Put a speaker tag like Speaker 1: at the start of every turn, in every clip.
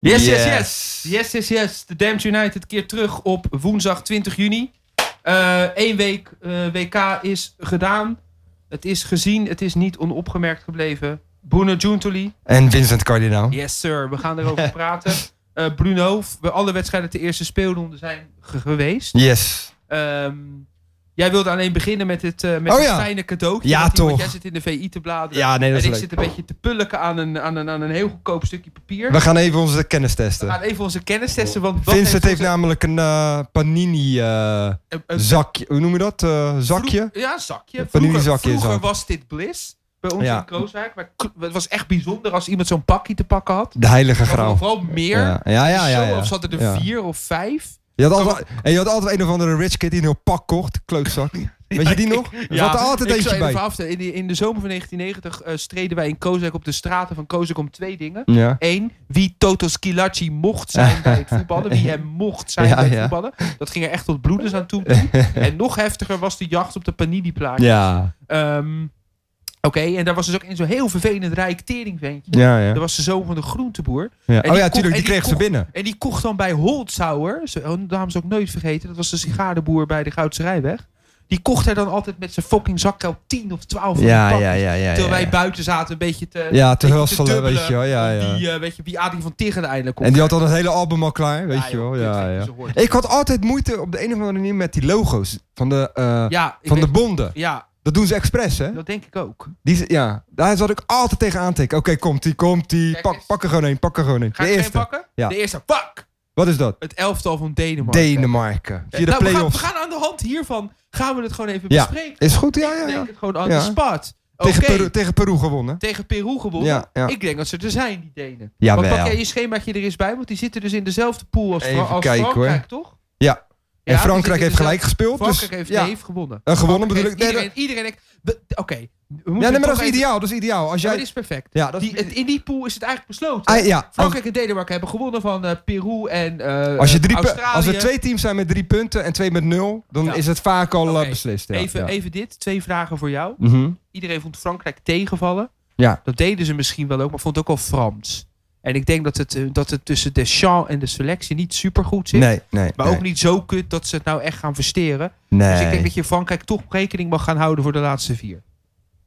Speaker 1: Yes, yes,
Speaker 2: Yes.
Speaker 1: yes. Yes, yes, yes. De Damned United keert terug op woensdag 20 juni. Eén week eh, WK is gedaan. Het is gezien. Het is niet onopgemerkt gebleven. Bruno Giuntoli.
Speaker 2: En Vincent Cardinaal.
Speaker 1: Yes, sir. We gaan erover praten. Eh, Bruno, we- alle wedstrijden te eerste speelronde zijn ge- geweest.
Speaker 2: Yes.
Speaker 1: Ehm, jij wilde alleen beginnen met het, eh, met
Speaker 2: Oh
Speaker 1: het
Speaker 2: ja.
Speaker 1: kleine cadeautje.
Speaker 2: Ja,
Speaker 1: Want die- want
Speaker 2: toch.
Speaker 1: Jij zit in de VI te bladeren.
Speaker 2: Ja, nee, dat
Speaker 1: en
Speaker 2: is
Speaker 1: ik
Speaker 2: leuk.
Speaker 1: zit een beetje te pulken aan een, aan een, aan een heel goedkoop stukje papier.
Speaker 2: We gaan even onze kennis
Speaker 1: We
Speaker 2: testen.
Speaker 1: gaan even onze kennis testen. Want wat
Speaker 2: Vincent heeft
Speaker 1: onze-
Speaker 2: namelijk een eh, panini eh,
Speaker 1: een- een
Speaker 2: zakje. Hoe noem je dat? Eh, zakje?
Speaker 1: Vro- ja, zakje.
Speaker 2: Van die
Speaker 1: Vroeger,
Speaker 2: zakje is
Speaker 1: vroeger
Speaker 2: dat.
Speaker 1: was dit bliss. Bij ons
Speaker 2: Ja.
Speaker 1: in Krooswijk. Maar k- het was echt bijzonder als iemand zo'n pakje te pakken had.
Speaker 2: De heilige
Speaker 1: Maar
Speaker 2: graal.
Speaker 1: Vooral meer.
Speaker 2: Ja, ja, ja. ja,
Speaker 1: Zo,
Speaker 2: ja.
Speaker 1: of zat er
Speaker 2: Ja.
Speaker 1: er vier of vijf?
Speaker 2: Je had altijd, en je had altijd een of andere rich kid die een heel pak kocht. Klootzak. Weet je die nog? Er zat er altijd
Speaker 1: ik zal
Speaker 2: eentje
Speaker 1: je
Speaker 2: bij.
Speaker 1: even aftellen. in, de, in de zomer van 1990 eh, streden wij in Kozak op de straten van Kozak om twee dingen.
Speaker 2: Ja.
Speaker 1: Eén, wie Toto Skilacci mocht zijn bij het voetballen. Wie hem mocht zijn
Speaker 2: Ja,
Speaker 1: bij het
Speaker 2: ja.
Speaker 1: voetballen. Dat ging er echt tot bloedens aan toe. en nog heftiger was de jacht op de panini-plaatjes.
Speaker 2: Ja.
Speaker 1: Ehm, Oké, en daar was dus ook in zo'n heel vervelend rijk teringventje.
Speaker 2: Ja, ja.
Speaker 1: Dat was de zoon van de groenteboer.
Speaker 2: Ja.
Speaker 1: die
Speaker 2: Oh
Speaker 1: kocht-
Speaker 2: ja,
Speaker 1: en
Speaker 2: tuurlijk.
Speaker 1: die
Speaker 2: Die kreeg ze
Speaker 1: kocht-
Speaker 2: binnen.
Speaker 1: En die kocht dan bij Holtzauer. Zo- oh, De naam is ook nooit vergeten. Dat was de sigarenboer bij de Goudse Rijweg. Die kocht hij dan altijd met zijn fucking zakkuil 10 of 12 van die pakjes.
Speaker 2: ja.
Speaker 1: Terwijl wij buiten zaten een beetje te...
Speaker 2: Ja, te
Speaker 1: een beetje
Speaker 2: husselen,
Speaker 1: dubbelen
Speaker 2: weet je wel. Ja,
Speaker 1: om
Speaker 2: ja.
Speaker 1: Die, eh, weet je, wie Adrie van Tegen eindelijk komt.
Speaker 2: En die had dan het hele album al klaar, weet je
Speaker 1: joh,
Speaker 2: wel.
Speaker 1: kut,
Speaker 2: Ja,
Speaker 1: dat je
Speaker 2: ja.
Speaker 1: ze hoort.
Speaker 2: Ik had altijd moeite op de een of andere manier met die logo's van de, eh,
Speaker 1: Ja, ik
Speaker 2: van de
Speaker 1: weet-
Speaker 2: bonden.
Speaker 1: ja,
Speaker 2: Dat doen ze expres, hè?
Speaker 1: dat denk ik ook.
Speaker 2: Die, z- ja, daar zat ik altijd tegen aantikken. Oké, komt die, komt die.
Speaker 1: Kijk
Speaker 2: Pak,
Speaker 1: eens.
Speaker 2: pak er gewoon een, pak er gewoon een.
Speaker 1: Ga
Speaker 2: De
Speaker 1: ik er een
Speaker 2: eerste.
Speaker 1: pakken?
Speaker 2: Ja.
Speaker 1: De eerste, fuck!
Speaker 2: Wat is dat?
Speaker 1: Het elftal van Denemarken.
Speaker 2: Denemarken. Via
Speaker 1: Nou,
Speaker 2: de
Speaker 1: we, gaan, we
Speaker 2: play-offs.
Speaker 1: gaan aan de hand hiervan gaan we het gewoon even
Speaker 2: Ja.
Speaker 1: bespreken.
Speaker 2: Is goed, ja, ja,
Speaker 1: Ik denk
Speaker 2: ja.
Speaker 1: het gewoon aan
Speaker 2: Ja.
Speaker 1: de spot. Oké,
Speaker 2: Tegen, Peru, tegen Peru gewonnen.
Speaker 1: tegen Peru gewonnen.
Speaker 2: Ja, ja.
Speaker 1: Ik denk dat ze er zijn, die Denen.
Speaker 2: Ja,
Speaker 1: Want pak
Speaker 2: wel.
Speaker 1: jij je schemaatje er eens bij, want die zitten dus in dezelfde pool als, Fra-
Speaker 2: Even
Speaker 1: als
Speaker 2: kijken,
Speaker 1: Frankrijk, toch?
Speaker 2: Ja.
Speaker 1: Ja,
Speaker 2: En
Speaker 1: die
Speaker 2: Frankrijk
Speaker 1: zitten dus
Speaker 2: heeft gelijk gespeeld. Dus,
Speaker 1: Frankrijk heeft,
Speaker 2: ja.
Speaker 1: heeft gewonnen.
Speaker 2: En gewonnen
Speaker 1: Frankrijk
Speaker 2: bedoel ik? Nee,
Speaker 1: heeft Iedereen, iedereen, we- Oké. we moeten
Speaker 2: Ja, nee, maar
Speaker 1: toch
Speaker 2: dat is
Speaker 1: even-
Speaker 2: ideaal. Dat is ideaal. Als
Speaker 1: Ja, maar
Speaker 2: jij...
Speaker 1: dit is perfect.
Speaker 2: Ja, dat is-
Speaker 1: Die- het- in die pool is het eigenlijk besloten.
Speaker 2: Ah, ja, als-
Speaker 1: Frankrijk en Denemarken hebben gewonnen van eh, Peru en eh
Speaker 2: Als, je drie pu-
Speaker 1: Australië.
Speaker 2: als er twee teams zijn met drie punten en twee met nul, dan
Speaker 1: Ja.
Speaker 2: is het vaak al eh,
Speaker 1: Oké,
Speaker 2: beslist. Ja,
Speaker 1: even,
Speaker 2: ja.
Speaker 1: even dit, twee vragen voor jou.
Speaker 2: Mhm.
Speaker 1: Iedereen vond Frankrijk tegenvallen.
Speaker 2: Ja.
Speaker 1: Dat deden ze misschien wel ook, maar vond het ook al Frans. En ik denk dat het, eh, dat het tussen Deschamps en de selectie niet super goed zit.
Speaker 2: Nee, nee.
Speaker 1: Maar
Speaker 2: nee,
Speaker 1: ook niet zo kut dat ze het nou echt gaan versteren.
Speaker 2: Nee.
Speaker 1: Dus ik denk dat je Frankrijk toch rekening mag gaan houden voor de laatste vier.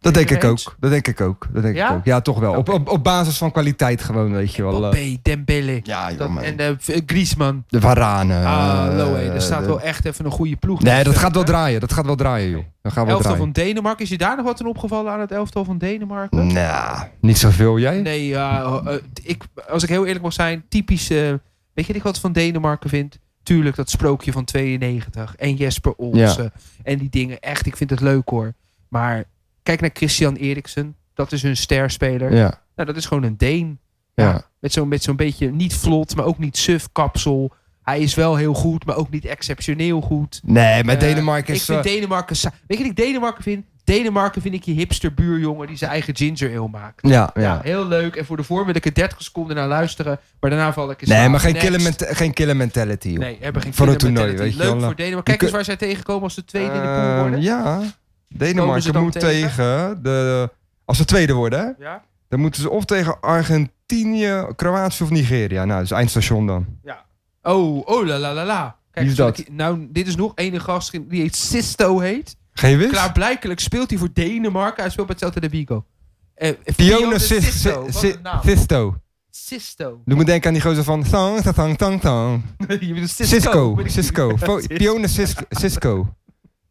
Speaker 2: dat denk
Speaker 1: Ben
Speaker 2: ik
Speaker 1: je het
Speaker 2: ook. Dat denk ik ook. Dat denk
Speaker 1: Ja?
Speaker 2: ik ook. Ja, toch wel. Op,
Speaker 1: Oké.
Speaker 2: op, op basis van kwaliteit gewoon, weet je wel. eh.
Speaker 1: Mbappé, Dembele
Speaker 2: ja,
Speaker 1: dat,
Speaker 2: joh, man.
Speaker 1: en eh, v- eh, Griezmann.
Speaker 2: De Varane.
Speaker 1: Hallo, hé,
Speaker 2: eh,
Speaker 1: er staat
Speaker 2: de-
Speaker 1: wel echt even een goede ploeg.
Speaker 2: Nee,
Speaker 1: tussen,
Speaker 2: dat gaat wel
Speaker 1: hè?
Speaker 2: draaien. Dat gaat wel draaien, joh. Dat gaat wel
Speaker 1: Elftal
Speaker 2: draaien.
Speaker 1: van Denemarken. Is je daar nog wat in opgevallen aan het elftal van Denemarken?
Speaker 2: Nou, niet zoveel. Jij?
Speaker 1: Nee, ja, eh, eh, ik, als ik heel eerlijk mag zijn, typisch. eh, weet je wat ik wat van Denemarken vind? Tuurlijk, dat sprookje van 92 en Jesper Olsen en die dingen. Echt, ik vind het leuk hoor. Maar kijk naar Christian Eriksen. Dat is hun sterspeler.
Speaker 2: Ja.
Speaker 1: Nou, dat is gewoon een Deen.
Speaker 2: Ja.
Speaker 1: Met zo'n met zo'n beetje niet vlot, maar ook niet suf kapsel. Hij is wel heel goed, maar ook niet exceptioneel goed.
Speaker 2: Nee, maar
Speaker 1: Eh,
Speaker 2: Denemarken
Speaker 1: Ik
Speaker 2: is...
Speaker 1: vind
Speaker 2: eh,
Speaker 1: Denemarken... sa- Weet je wat ik Denemarken vind? Denemarken vind ik die hipster buurjongen die zijn eigen ginger ale maakt.
Speaker 2: ja, ja.
Speaker 1: Ja. heel leuk. En voor de vorm wil ik er 30 seconden naar luisteren. Maar daarna val ik eens
Speaker 2: Nee,
Speaker 1: slaap.
Speaker 2: maar geen
Speaker 1: Next.
Speaker 2: killer, ment- geen killer mentality, joh.
Speaker 1: Nee, hebben geen
Speaker 2: Van het
Speaker 1: killer
Speaker 2: toernooi,
Speaker 1: mentality.
Speaker 2: weet je
Speaker 1: Leuk
Speaker 2: wel.
Speaker 1: voor Denemarken. Kijk
Speaker 2: kun-
Speaker 1: eens waar zij tegenkomen als ze tweede in de
Speaker 2: Eh,
Speaker 1: pool worden.
Speaker 2: Ja.
Speaker 1: Komen ze
Speaker 2: Denemarken
Speaker 1: dan
Speaker 2: moet
Speaker 1: tegen?
Speaker 2: tegen de... Als ze tweede worden, hè?
Speaker 1: Ja.
Speaker 2: Dan moeten ze of tegen Argentinië, Kroatië of Nigeria. Nou, dat is eindstation dan.
Speaker 1: Oh, oh la la la la. Kijk,
Speaker 2: Wie is dat?
Speaker 1: zullen we- Nou, dit is nog ene gast die heet Sisto heet.
Speaker 2: Geen wist?
Speaker 1: Klaarblijkelijk speelt hij voor Denemarken. Hij speelt bij Celta de Vigo. Eh,
Speaker 2: Fiona
Speaker 1: Sisto.
Speaker 2: Sis-
Speaker 1: Wat
Speaker 2: Si-
Speaker 1: een naam.
Speaker 2: Sisto.
Speaker 1: Sisto.
Speaker 2: Doe me denken aan die gozer van... Tang, tang, tang, tang, tang.
Speaker 1: Je bedoelt Sisto.
Speaker 2: Cisco.
Speaker 1: Weet ik
Speaker 2: Cisco.
Speaker 1: niet.
Speaker 2: Fo- Fiona Sis- Cisco.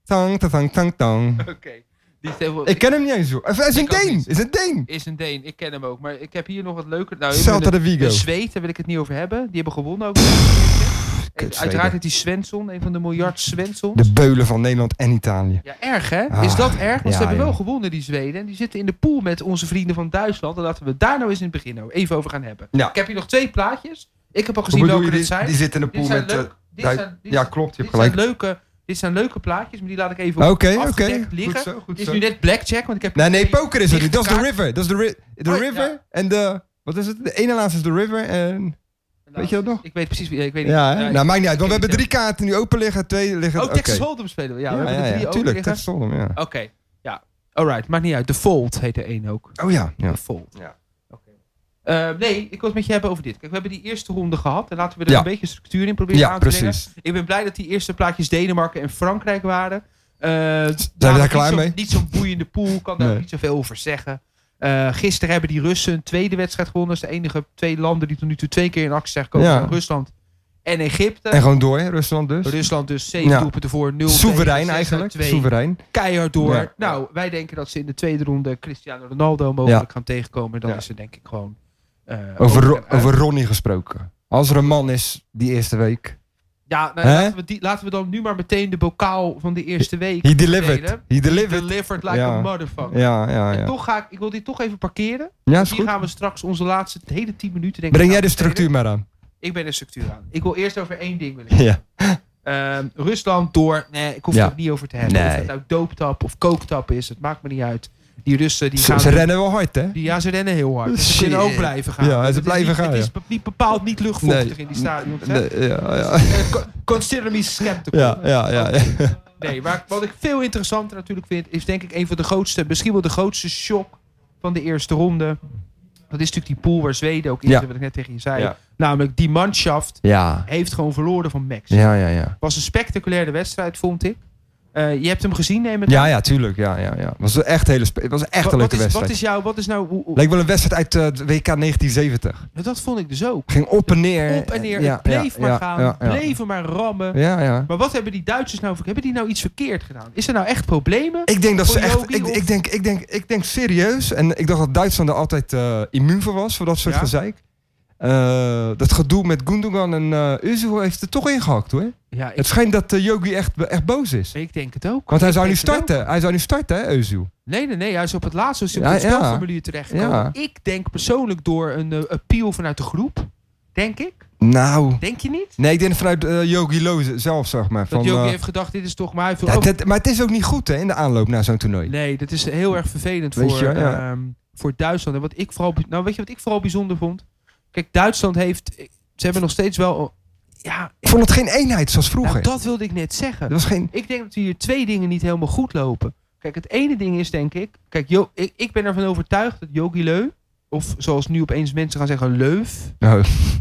Speaker 2: Tang, tang, tang, tang, tang.
Speaker 1: Oké. Die is heel-
Speaker 2: Ik ken hem niet eens, joh. Hij is een
Speaker 1: Ik ook
Speaker 2: Deen.
Speaker 1: niet.
Speaker 2: is een Deen.
Speaker 1: is een Deen. Ik ken hem ook. Maar ik heb hier nog wat leuker. Nou, ik ben
Speaker 2: Celta
Speaker 1: de,
Speaker 2: de Vigo.
Speaker 1: de Zweed, daar wil ik het niet over hebben. Die hebben gewonnen ook. En Uiteraard
Speaker 2: Zweden.
Speaker 1: heeft die Svensson, een van de miljard Svenssons.
Speaker 2: De beulen van Nederland en Italië.
Speaker 1: Ja, erg hè?
Speaker 2: Ah,
Speaker 1: is dat erg? Want
Speaker 2: ja,
Speaker 1: ze hebben wel
Speaker 2: joh.
Speaker 1: gewonnen, die Zweden. En die zitten in de pool met onze vrienden van Duitsland. En laten we daar nou eens in het begin nou even over gaan hebben.
Speaker 2: Ja.
Speaker 1: Ik heb hier nog twee plaatjes. Ik heb al gezien
Speaker 2: Hoe bedoel
Speaker 1: welke
Speaker 2: je,
Speaker 1: dit
Speaker 2: die,
Speaker 1: zijn.
Speaker 2: die zitten in de
Speaker 1: dit
Speaker 2: pool
Speaker 1: zijn
Speaker 2: met...
Speaker 1: leuk.
Speaker 2: eh,
Speaker 1: dit
Speaker 2: Duit-
Speaker 1: zijn, dit,
Speaker 2: ja, klopt. Je
Speaker 1: dit
Speaker 2: hebt gelijk.
Speaker 1: zijn leuke, dit zijn leuke plaatjes, maar die laat ik even op
Speaker 2: Oké, oké.
Speaker 1: afgedekt
Speaker 2: Goed
Speaker 1: liggen.
Speaker 2: zo, goed
Speaker 1: Het is
Speaker 2: zo.
Speaker 1: nu net blackjack, want ik heb... Nou,
Speaker 2: Nee, nee, poker is het niet. Dat is de
Speaker 1: Kaart-
Speaker 2: river. Dat is de, ri- de
Speaker 1: Oh, ja.
Speaker 2: river en de... Wat is het? De ene laatste is de river en... Weet je dat nog?
Speaker 1: Ik weet precies wie... Ik weet niet.
Speaker 2: Ja, hè?
Speaker 1: Ja, ik-
Speaker 2: nou, maakt niet uit. Want we
Speaker 1: ik-
Speaker 2: hebben drie kaarten nu open liggen. Twee liggen...
Speaker 1: Oh,
Speaker 2: oké.
Speaker 1: Texas Hold'em spelen we. Ja, we
Speaker 2: Ja,
Speaker 1: hebben
Speaker 2: ja,
Speaker 1: er drie
Speaker 2: ja.
Speaker 1: ook
Speaker 2: Tuurlijk,
Speaker 1: liggen.
Speaker 2: Texas Hold'em, ja.
Speaker 1: Oké, ja. Alright, maakt niet uit. De Fold heet er één ook.
Speaker 2: Oh ja. ja.
Speaker 1: De Fold.
Speaker 2: Ja.
Speaker 1: Oké. Eh, nee, ik wil het met je hebben over dit. Kijk, we hebben die eerste ronde gehad. En laten we er
Speaker 2: Ja.
Speaker 1: een beetje structuur in proberen
Speaker 2: Ja,
Speaker 1: aan te brengen.
Speaker 2: precies.
Speaker 1: Ik ben blij dat die eerste plaatjes Denemarken en Frankrijk waren. Eh,
Speaker 2: daar
Speaker 1: namelijk
Speaker 2: klaar
Speaker 1: niet zo-
Speaker 2: mee?
Speaker 1: Niet zo'n boeiende pool, kan daar
Speaker 2: Nee.
Speaker 1: niet zoveel over zeggen. Eh, gisteren hebben die Russen een tweede wedstrijd gewonnen. Dat is de enige twee landen die tot nu toe twee keer in actie zijn gekomen.
Speaker 2: Ja.
Speaker 1: Van Rusland en Egypte.
Speaker 2: En gewoon door, hè, Rusland dus.
Speaker 1: Rusland dus zeven
Speaker 2: Ja.
Speaker 1: doelpunten voor, nul tegen,
Speaker 2: Soeverein
Speaker 1: zes
Speaker 2: eigenlijk.
Speaker 1: uit twee.
Speaker 2: Soeverein.
Speaker 1: Keihard door.
Speaker 2: Ja.
Speaker 1: Nou, wij denken dat ze in de tweede ronde Cristiano Ronaldo mogelijk gaan tegenkomen. Dan
Speaker 2: Ja.
Speaker 1: is ze denk ik gewoon... eh,
Speaker 2: Over,
Speaker 1: over
Speaker 2: Ro-
Speaker 1: en uit.
Speaker 2: over Ronnie gesproken. Als er een man is die eerste week.
Speaker 1: Ja, nou,
Speaker 2: Hè?
Speaker 1: laten, we die, laten we dan nu maar meteen de bokaal van de eerste week.
Speaker 2: He delivered.
Speaker 1: spelen.
Speaker 2: He delivered.
Speaker 1: Delivered like
Speaker 2: Ja.
Speaker 1: a motherfucker.
Speaker 2: Ja, ja,
Speaker 1: En
Speaker 2: ja.
Speaker 1: toch ga ik, ik wil die toch even parkeren.
Speaker 2: Ja, is
Speaker 1: Hier
Speaker 2: goed.
Speaker 1: gaan we straks onze laatste de hele 10 minuten denk ik
Speaker 2: Breng
Speaker 1: aan
Speaker 2: jij de
Speaker 1: besteden.
Speaker 2: structuur maar aan.
Speaker 1: Ik ben de structuur aan. Ik wil eerst over één ding willen.
Speaker 2: Ja.
Speaker 1: Ehm, Rusland door. Nee, ik hoef
Speaker 2: Ja.
Speaker 1: het ook niet over te hebben.
Speaker 2: Nee.
Speaker 1: Of het nou dooptap of kooktap is, het maakt me niet uit. Die Russen die
Speaker 2: Ze,
Speaker 1: gaan.
Speaker 2: ze rennen wel hard, hè?
Speaker 1: die, ja, ze rennen heel hard. Dus ze
Speaker 2: Shit.
Speaker 1: kunnen ook blijven gaan.
Speaker 2: Ja, ze
Speaker 1: Het is
Speaker 2: blijven
Speaker 1: niet-
Speaker 2: gaan,
Speaker 1: Het is
Speaker 2: ja.
Speaker 1: be- niet bepaald niet luchtvochtig in die stadions. hè?
Speaker 2: Nee, Oh, ja, ja.
Speaker 1: Eh, co- Consider me skeptical.
Speaker 2: Ja, ja, ja. ja.
Speaker 1: Nee, maar wat ik veel interessanter natuurlijk vind, is denk ik een van de grootste, misschien wel de grootste shock van de eerste ronde. Dat is natuurlijk die pool waar Zweden ook in
Speaker 2: Ja.
Speaker 1: zit, wat ik net tegen je zei.
Speaker 2: Ja.
Speaker 1: Namelijk, die manschaft
Speaker 2: Ja,
Speaker 1: heeft gewoon verloren van Max.
Speaker 2: ja, ja. ja.
Speaker 1: was een spectaculaire wedstrijd, vond ik. Eh, je hebt hem gezien, neem ik aan.
Speaker 2: Ja, ja, tuurlijk. Ja, ja, ja. Was een echt hele spe- het was echt
Speaker 1: Wat-
Speaker 2: een
Speaker 1: wat,
Speaker 2: leuke
Speaker 1: is,
Speaker 2: wedstrijd.
Speaker 1: wat is jouw, wat is nou, hoe- hoe-
Speaker 2: Leek wel een wedstrijd uit eh, het WK 1970.
Speaker 1: dat vond ik dus ook.
Speaker 2: Ging op en neer.
Speaker 1: Op en neer,
Speaker 2: Eh, Ja,
Speaker 1: het bleef
Speaker 2: ja,
Speaker 1: maar
Speaker 2: ja,
Speaker 1: gaan,
Speaker 2: ja, ja.
Speaker 1: bleef maar rammen.
Speaker 2: Ja, ja.
Speaker 1: Maar wat hebben die Duitsers nou, hebben die nou iets verkeerd gedaan? Is er nou echt problemen?
Speaker 2: Ik denk dat ze echt.
Speaker 1: Podjovi
Speaker 2: Ik,
Speaker 1: of-
Speaker 2: ik, denk, ik, denk, ik denk serieus. En ik dacht dat Duitsland er altijd eh, immuun voor was. Voor dat soort
Speaker 1: Ja.
Speaker 2: gezeik. Eh, dat gedoe met Gundogan en eh Özil heeft er toch ingehakt hoor.
Speaker 1: Ja, ik,
Speaker 2: Het schijnt dat eh, Yogi echt, echt boos is.
Speaker 1: ik denk het ook.
Speaker 2: Want hij zou nu
Speaker 1: denk het
Speaker 2: starten. Hij zou nu starten, hè, Özil.
Speaker 1: Nee, nee, nee. Hij is op het laatste stuk
Speaker 2: Ja,
Speaker 1: op het
Speaker 2: ja.
Speaker 1: spelformulier terechtgekomen.
Speaker 2: Ja.
Speaker 1: Ik denk persoonlijk door een eh, appeal vanuit de groep. Denk ik.
Speaker 2: Nou.
Speaker 1: Denk je niet?
Speaker 2: Nee, ik denk vanuit eh, Yogi Loze zelf, zeg maar.
Speaker 1: Dat
Speaker 2: van,
Speaker 1: Jokie
Speaker 2: eh,
Speaker 1: heeft gedacht, dit is toch... Maar hij viel
Speaker 2: ja,
Speaker 1: ook-
Speaker 2: dat- maar het is ook niet goed hè, in de aanloop naar zo'n toernooi.
Speaker 1: Nee, dat is heel erg vervelend
Speaker 2: Weet
Speaker 1: voor,
Speaker 2: je, ja.
Speaker 1: ehm, voor Duitsland. En wat ik vooral, bij- nou, weet je wat ik vooral bijzonder vond? Kijk, Duitsland heeft... Ze hebben nog steeds wel... Ja,
Speaker 2: Ik vond het geen eenheid zoals vroeger.
Speaker 1: nou, dat wilde ik net zeggen.
Speaker 2: Er was geen...
Speaker 1: Ik denk dat hier twee dingen niet helemaal goed lopen. Kijk, het ene ding is denk ik... Kijk, Jo- ik, ik ben ervan overtuigd dat Jogi Leu... Of zoals nu opeens mensen gaan zeggen, Leuf.
Speaker 2: Oh,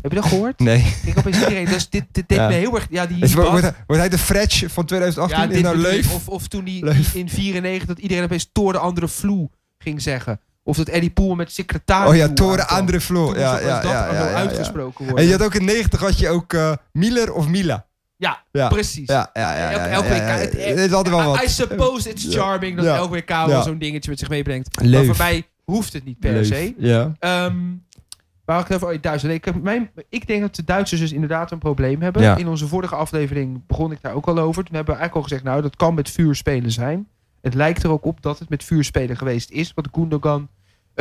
Speaker 1: Heb je dat gehoord?
Speaker 2: nee.
Speaker 1: Ik opeens iedereen, dus dit, dit deed
Speaker 2: Ja.
Speaker 1: me heel erg... Ja, die
Speaker 2: Is, wordt,
Speaker 1: Bas-
Speaker 2: wordt hij, wordt hij de Fretch van 2018
Speaker 1: ja,
Speaker 2: in
Speaker 1: dit
Speaker 2: nou
Speaker 1: bedoel ik.
Speaker 2: leef?
Speaker 1: Of, of toen die
Speaker 2: Leuf.
Speaker 1: in 94 dat iedereen opeens Toren andere vloe ging zeggen. Of dat Eddie Poel met secretaris...
Speaker 2: Oh ja,
Speaker 1: vloer
Speaker 2: Toren
Speaker 1: aankwam.
Speaker 2: andere
Speaker 1: Toen
Speaker 2: Floor.
Speaker 1: moest
Speaker 2: Ja,
Speaker 1: opeens
Speaker 2: ja,
Speaker 1: dat
Speaker 2: ja,
Speaker 1: allemaal
Speaker 2: ja, ja, ja.
Speaker 1: uitgesproken
Speaker 2: En
Speaker 1: worden.
Speaker 2: je had ook in 90 had je ook eh Miller of Mila.
Speaker 1: Ja,
Speaker 2: Ja.
Speaker 1: precies.
Speaker 2: Ja, ja, ja. ja,
Speaker 1: Elk-
Speaker 2: ja,
Speaker 1: elk
Speaker 2: ja,
Speaker 1: WK,
Speaker 2: ja.
Speaker 1: het-
Speaker 2: Dit is altijd wel
Speaker 1: I, I
Speaker 2: wat.
Speaker 1: suppose it's
Speaker 2: Ja.
Speaker 1: charming dat
Speaker 2: Ja.
Speaker 1: elk WK
Speaker 2: Ja.
Speaker 1: wel zo'n dingetje met zich meebrengt.
Speaker 2: Leuf.
Speaker 1: Maar voor mij hoeft het niet per
Speaker 2: Leef.
Speaker 1: se.
Speaker 2: Ja.
Speaker 1: Ehm waar ik het even over oh, Duitsland. Ik, heb mijn, ik denk dat de Duitsers dus inderdaad een probleem hebben.
Speaker 2: Ja.
Speaker 1: In onze vorige aflevering begon ik daar ook al over. Toen hebben we eigenlijk al gezegd, nou, dat kan met vuur spelen zijn. Het lijkt er ook op dat het met vuur spelen geweest is. Wat Gundogan,